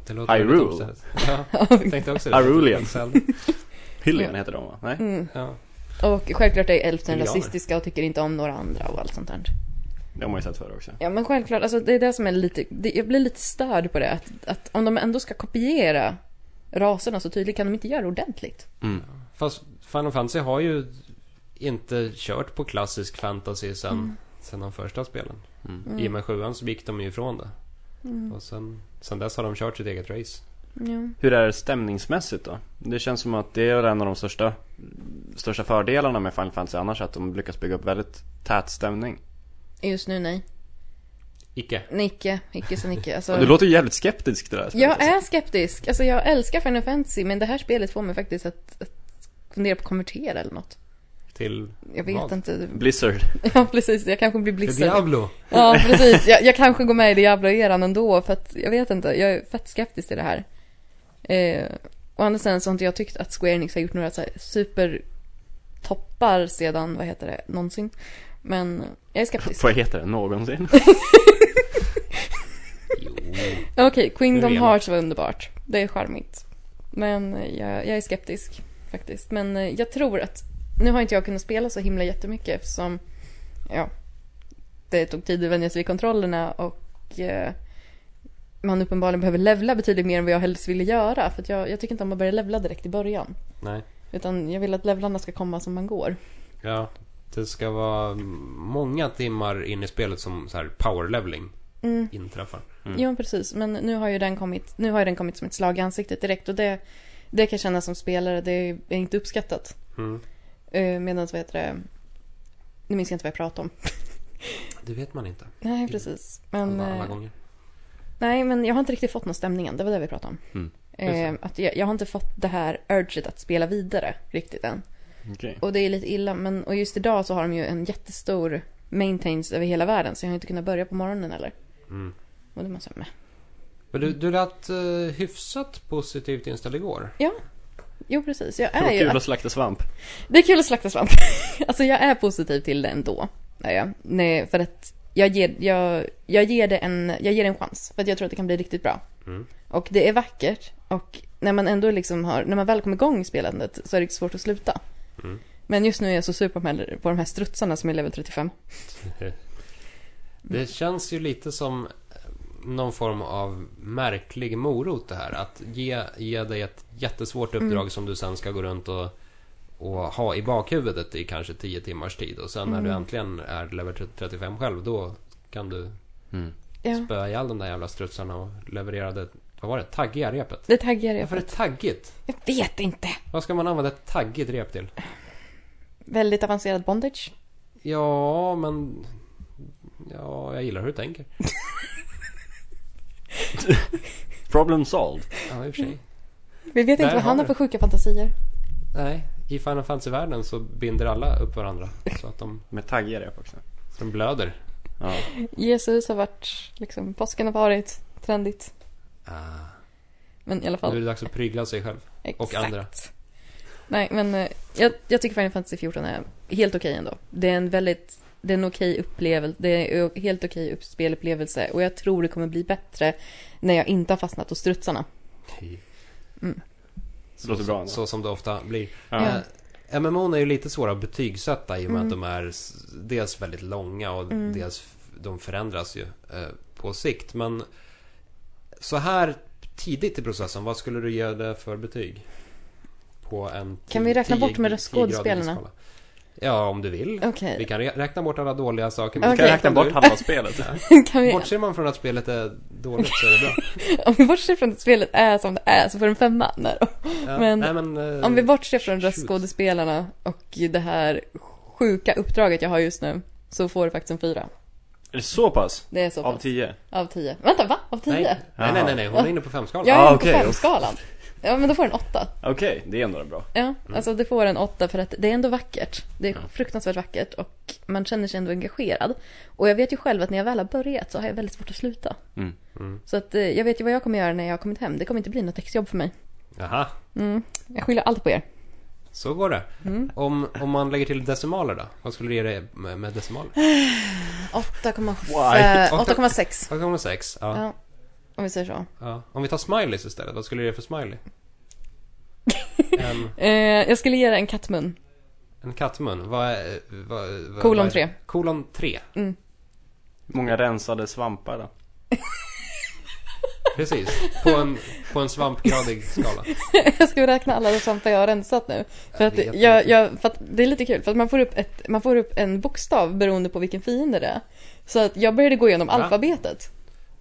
Det låter Hyrule. väldigt obsessed. Ja, jag tänkte också det. Hyrulean. Excel. Hylian heter de va? Nej? Mm. Ja. Och självklart är elfen Indianer. rasistiska och tycker inte om några andra och allt sånt där. Det har man ju sett förr också. Ja men självklart, alltså det är det som är lite, det, jag blir lite störd på det. Att, att om de ändå ska kopiera raserna så tydligt kan de inte göra det ordentligt. Mm. Fast Final Fantasy har ju inte kört på klassisk fantasy sen, Mm. sen de första spelen. Mm. I och med sjuan så gick de ju ifrån det. Mm. Och sen, sen dess har de kört sitt eget race. Ja. Hur är det stämningsmässigt då? Det känns som att det är en av de största, största fördelarna med Final Fantasy annars, att de lyckas bygga upp väldigt tät stämning. Just nu nej. Icke. Nicke, Nicke så Nicke. Alltså, Du låter ju jävligt skeptisk till det här spelet, jag alltså. är skeptisk. Alltså jag älskar Final Fantasy men det här spelet får mig faktiskt att, att fundera på att konvertera eller något. Till Jag vet Vad? inte. Blizzard. Ja precis, jag kanske blir till blizzad. Diablo. Ja precis, jag, jag kanske går med i Diablo-eran ändå för att jag vet inte, jag är fett skeptisk till det här. Eh, å andra sidan så har inte jag tyckt att Square Enix har gjort några så här supertoppar sedan, vad heter det, någonsin. Men jag är skeptisk. Vad heter det? Någonsin? Jo. Okej, Kingdom Nu är det. Hearts var underbart. Det är charmigt. Men eh, jag, jag är skeptisk faktiskt. Men eh, jag tror att Nu har inte jag kunnat spela så himla jättemycket eftersom ja, det tog tid att vänja sig vid kontrollerna och eh, man uppenbarligen behöver levla betydligt mer än vad jag helst ville göra. För att jag, jag tycker inte om att börja levla direkt i början. Nej. Utan jag vill att levlarna ska komma som man går. Ja. Det ska vara många timmar in i spelet som så här power leveling Mm. inträffar. Mm. Jo, precis. Men nu har ju den kommit, nu har ju den kommit som ett slag i ansiktet direkt och det, det kan kännas som spelare, det är inte uppskattat. Mm. Eh, Medan, vad heter det, nu minns jag inte vad jag pratade om. Det vet man inte. Nej, precis. Men, Alla, alla eh, gånger. nej, men jag har inte riktigt fått någon stämningen, det var det vi pratade om. Mm. Eh, att jag, jag har inte fått det här urget att spela vidare riktigt än. Okej. Och det är lite illa, men och just idag så har de ju en jättestor maintains över hela världen så jag har inte kunnat börja på morgonen eller. Mm. Och det måste jag med. Men du, du lät eh, hyfsat positivt inställd igår. Jo, precis. Jag är Okay. ju Kul att slakta svamp. Det är kul att slakta svamp. alltså jag är positiv till det ändå. Nej, jag- nej för att jag ger, jag, jag, ger det en, jag ger det en chans. För att jag tror att det kan bli riktigt bra. Mm. Och det är vackert. Och när man ändå liksom har, när man väl kommer igång i spelandet så är det svårt att sluta. Mm. Men just nu är jag så sur på de här, på de här strutsarna som är level 35. Det känns ju lite som eh, någon form av märklig morot det här. Att ge, ge dig ett jättesvårt uppdrag som du sen ska gå runt och, och ha i bakhuvudet i kanske 10 timmars tid. Och sen när du äntligen är level 35 själv, då kan du Mm. Ja, spöa ihjäl de där jävla strutsarna och leverera det, vad var det, taggiga repet? det taggar jag Varför för. är det taggigt? Jag vet inte. Vad ska man använda ett taggigt rep till? Väldigt avancerad bondage. Ja, men... Ja, jag gillar hur du tänker. Problem solved. Ja, i och för sig. Vi vet Där inte vad har han vi har det. för sjuka fantasier. Nej, i Final Fantasy-världen så binder alla upp varandra. Så att de, Med taggiga rep också. så de blöder. Ja. Jesus har varit, liksom, påsken har varit trendigt. Ah. Men i alla fall. Nu är det dags att prygla sig själv. Exakt. andra. Nej, men eh, jag, jag tycker Final Fantasy 14 är helt okej ändå. Det är en väldigt, det är en okej upplevelse, det är en helt okej upp- spelupplevelse och jag tror det kommer bli bättre när jag inte har fastnat hos strutsarna. Det låter bra ändå. Mm. Så som det ofta blir. Ja. Eh, MMO'n är ju lite svåra att betygsätta i och med att de är s- dels väldigt långa och Mm. dels f- de förändras ju eh, på sikt. Men så här tidigt i processen, vad skulle du ge det för betyg? På en Kan vi räkna bort med 10 röstskådespelarna? 10-gradig skala. Ja, om du vill. Okej, Vi kan rä- räkna bort alla dåliga saker. Du Okej. kan räkna bort halva spelet. kan vi, Bortser man från att spelet är dåligt så är det bra. om vi bortser från att spelet är som det är så får den femma. Nej, då. Ja, Men- nej, men, eh, Om vi bortser från shoot. röstskådespelarna och det här sjuka uppdraget jag har just nu så får det faktiskt en fyra. Är det så pass? Det är så Av pass. tio? Av tio. Vänta, va? Av tio? Nej, nej, nej, nej, nej, hon är inne på femskalan. Jag är Ah, ah, på okej. femskalan. Ja, men då får den åtta. Okej, det är ändå bra. Ja, alltså det får en åtta för att det är ändå vackert. Det är fruktansvärt vackert och man känner sig ändå engagerad. Och jag vet ju själv att när jag väl har börjat så har jag väldigt svårt att sluta. Mm. Så att eh, jag vet ju vad jag kommer göra när jag har kommit hem. Det kommer inte bli något exjobb för mig. Mm. Jaha, Jag skyller allt på er. så går det. Mm. Om, om man lägger till decimaler då? Vad skulle du ge det med, med decimaler? 8,5 8,6. 8,6. Ja, ja. Ja, om vi säger så. Om vi tar smileys istället, vad skulle du ge för smiley? En, Eh, jag skulle ge det en kattmun. en kattmun. Vad är... Vad, vad, Kolon vad är- tre. Kolon 3. Många rensade svampar då. Precis. På en, på en svampgradig skala. jag ska räkna alla de svampar jag har rensat nu. För Jag att, vet jag, inte. jag, för att det är lite kul, för att man får, upp ett, man får upp en bokstav beroende på vilken fiende det är. Så att jag började gå igenom Va? alfabetet.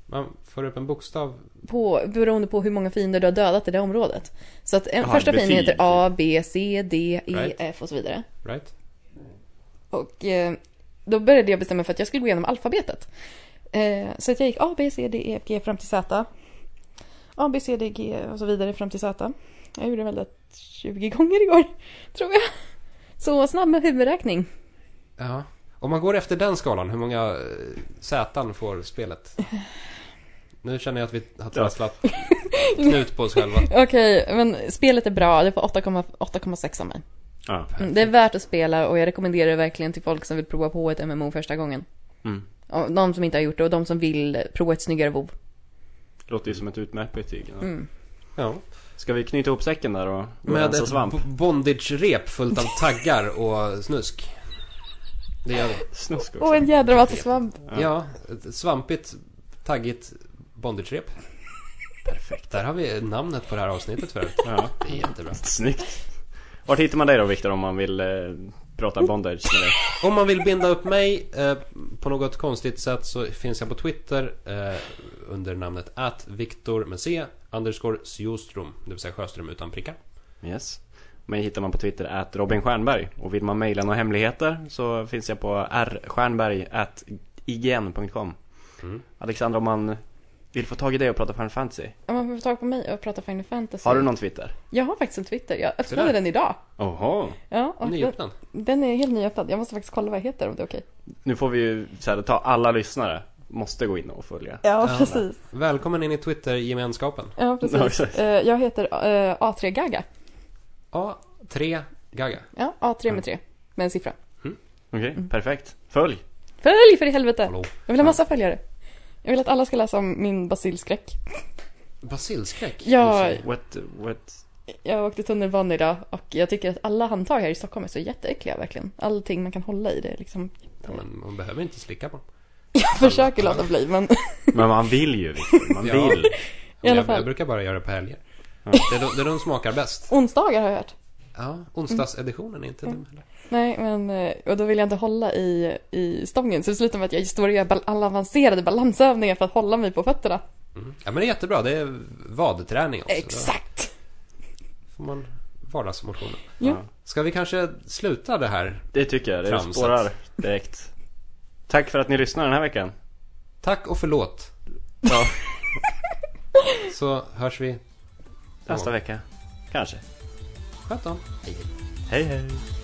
Man får upp en bokstav. på, beroende på hur många fiender du har dödat i det området. Så att en, Aha, första betyg. fienden heter A, B, C, D, E, Right. F och så vidare. Right? Och eh, då började jag bestämma för att jag skulle gå igenom alfabetet. Eh, så att jag gick A, B, C, D, E, F, G fram till Z. A, B, C, D, G och så vidare fram till Z. Jag gjorde väl det 20 gånger igår, tror jag. Så snabb med huvudräkning. Ja. Om man går efter den skalan, hur många eh, Z:an får spelet? Nu känner jag att vi har trasslat knut på oss själva. Okej, men spelet är bra. Det får 8,6 av mig. Ja. Mm, det är värt att spela och jag rekommenderar det verkligen till folk som vill prova på ett MMO första gången. Mm. Och de som inte har gjort det och de som vill prova ett snyggare WoW. Låter ju som ett utmärkt betyg. Ja. Mm. Ja. Ska vi knyta ihop säcken där och gå och Med rensa ett svamp? bo- bondage-rep fullt av taggar och snusk. Det gör vi. Snusk också. Och en jädra massa svamp. Ja. Ja, ett svampigt, taggigt bondage-rep. Perfekt. Där har vi namnet på det här avsnittet för övrigt. Ja. Det är jättebra. Snyggt. Vart hittar man dig då Viktor om man vill eh, prata bondage med dig? Om man vill binda upp mig eh, på något konstigt sätt så finns jag på Twitter eh, under namnet att Viktor med C underscore Sjöström, det vill säga Sjöström utan prickar. Yes. Mig hittar man på Twitter at Robin Stjernberg. Och vill man mejla några hemligheter så finns jag på rstjernberg at ign.com. Mm. Alexandra, om man vill få tag i dig och prata Final Fantasy, Om man får tag på mig och prata Final Fantasy. har du någon Twitter? Jag har faktiskt en Twitter. Jag Så öppnade där. den idag. Oho. Ja, och den, Nyöppnad. den är helt nyöppnad. Jag måste faktiskt kolla vad jag heter om det är okej. Nu får vi ju så här, ta alla lyssnare. Måste gå in och följa. Ja, Ja. precis. Välkommen in i Twitter-gemenskapen. Ja, Ja, precis. exakt. Eh, Jag heter eh, A3 Gaga. A3 Gaga. Ja, A3 med 3. Med en siffra. Okej, Mm. perfekt. Följ! Följ för i helvete! Hallå. Jag vill ha massa följare. Jag vill att alla ska läsa om min basilskräck. Basilskräck? i och Ja. för sig. What, what? Jag åkte tunnelbana idag och jag tycker att alla handtag här i Stockholm är så jätteäckliga verkligen. Allting man kan hålla i det är liksom. Ja, men man behöver inte slicka på dem. Jag försöker låta bli men Men man vill ju Viktor, man Ja. vill. I alla jag, fall. jag brukar bara göra det på helger. Det, är de, det är de smakar bäst. onsdagar har jag hört. Ja, onsdagseditionen är inte Mm. dum heller. Nej men, eh, och då vill jag inte hålla i, i stången så det slutar med att jag står och gör bal- alla avancerade balansövningar för att hålla mig på fötterna. Mm. Ja, men det är jättebra. Det är vadträning också. Exakt! Då får man vardagsmotionen. Jo. Ja. Ska vi kanske sluta det här? Det tycker jag, det Tramsat. spårar direkt. Tack för att ni lyssnar den här veckan. Tack och förlåt. Ja, Så hörs vi. nästa vecka. Kanske. Sköt om. Hej hej.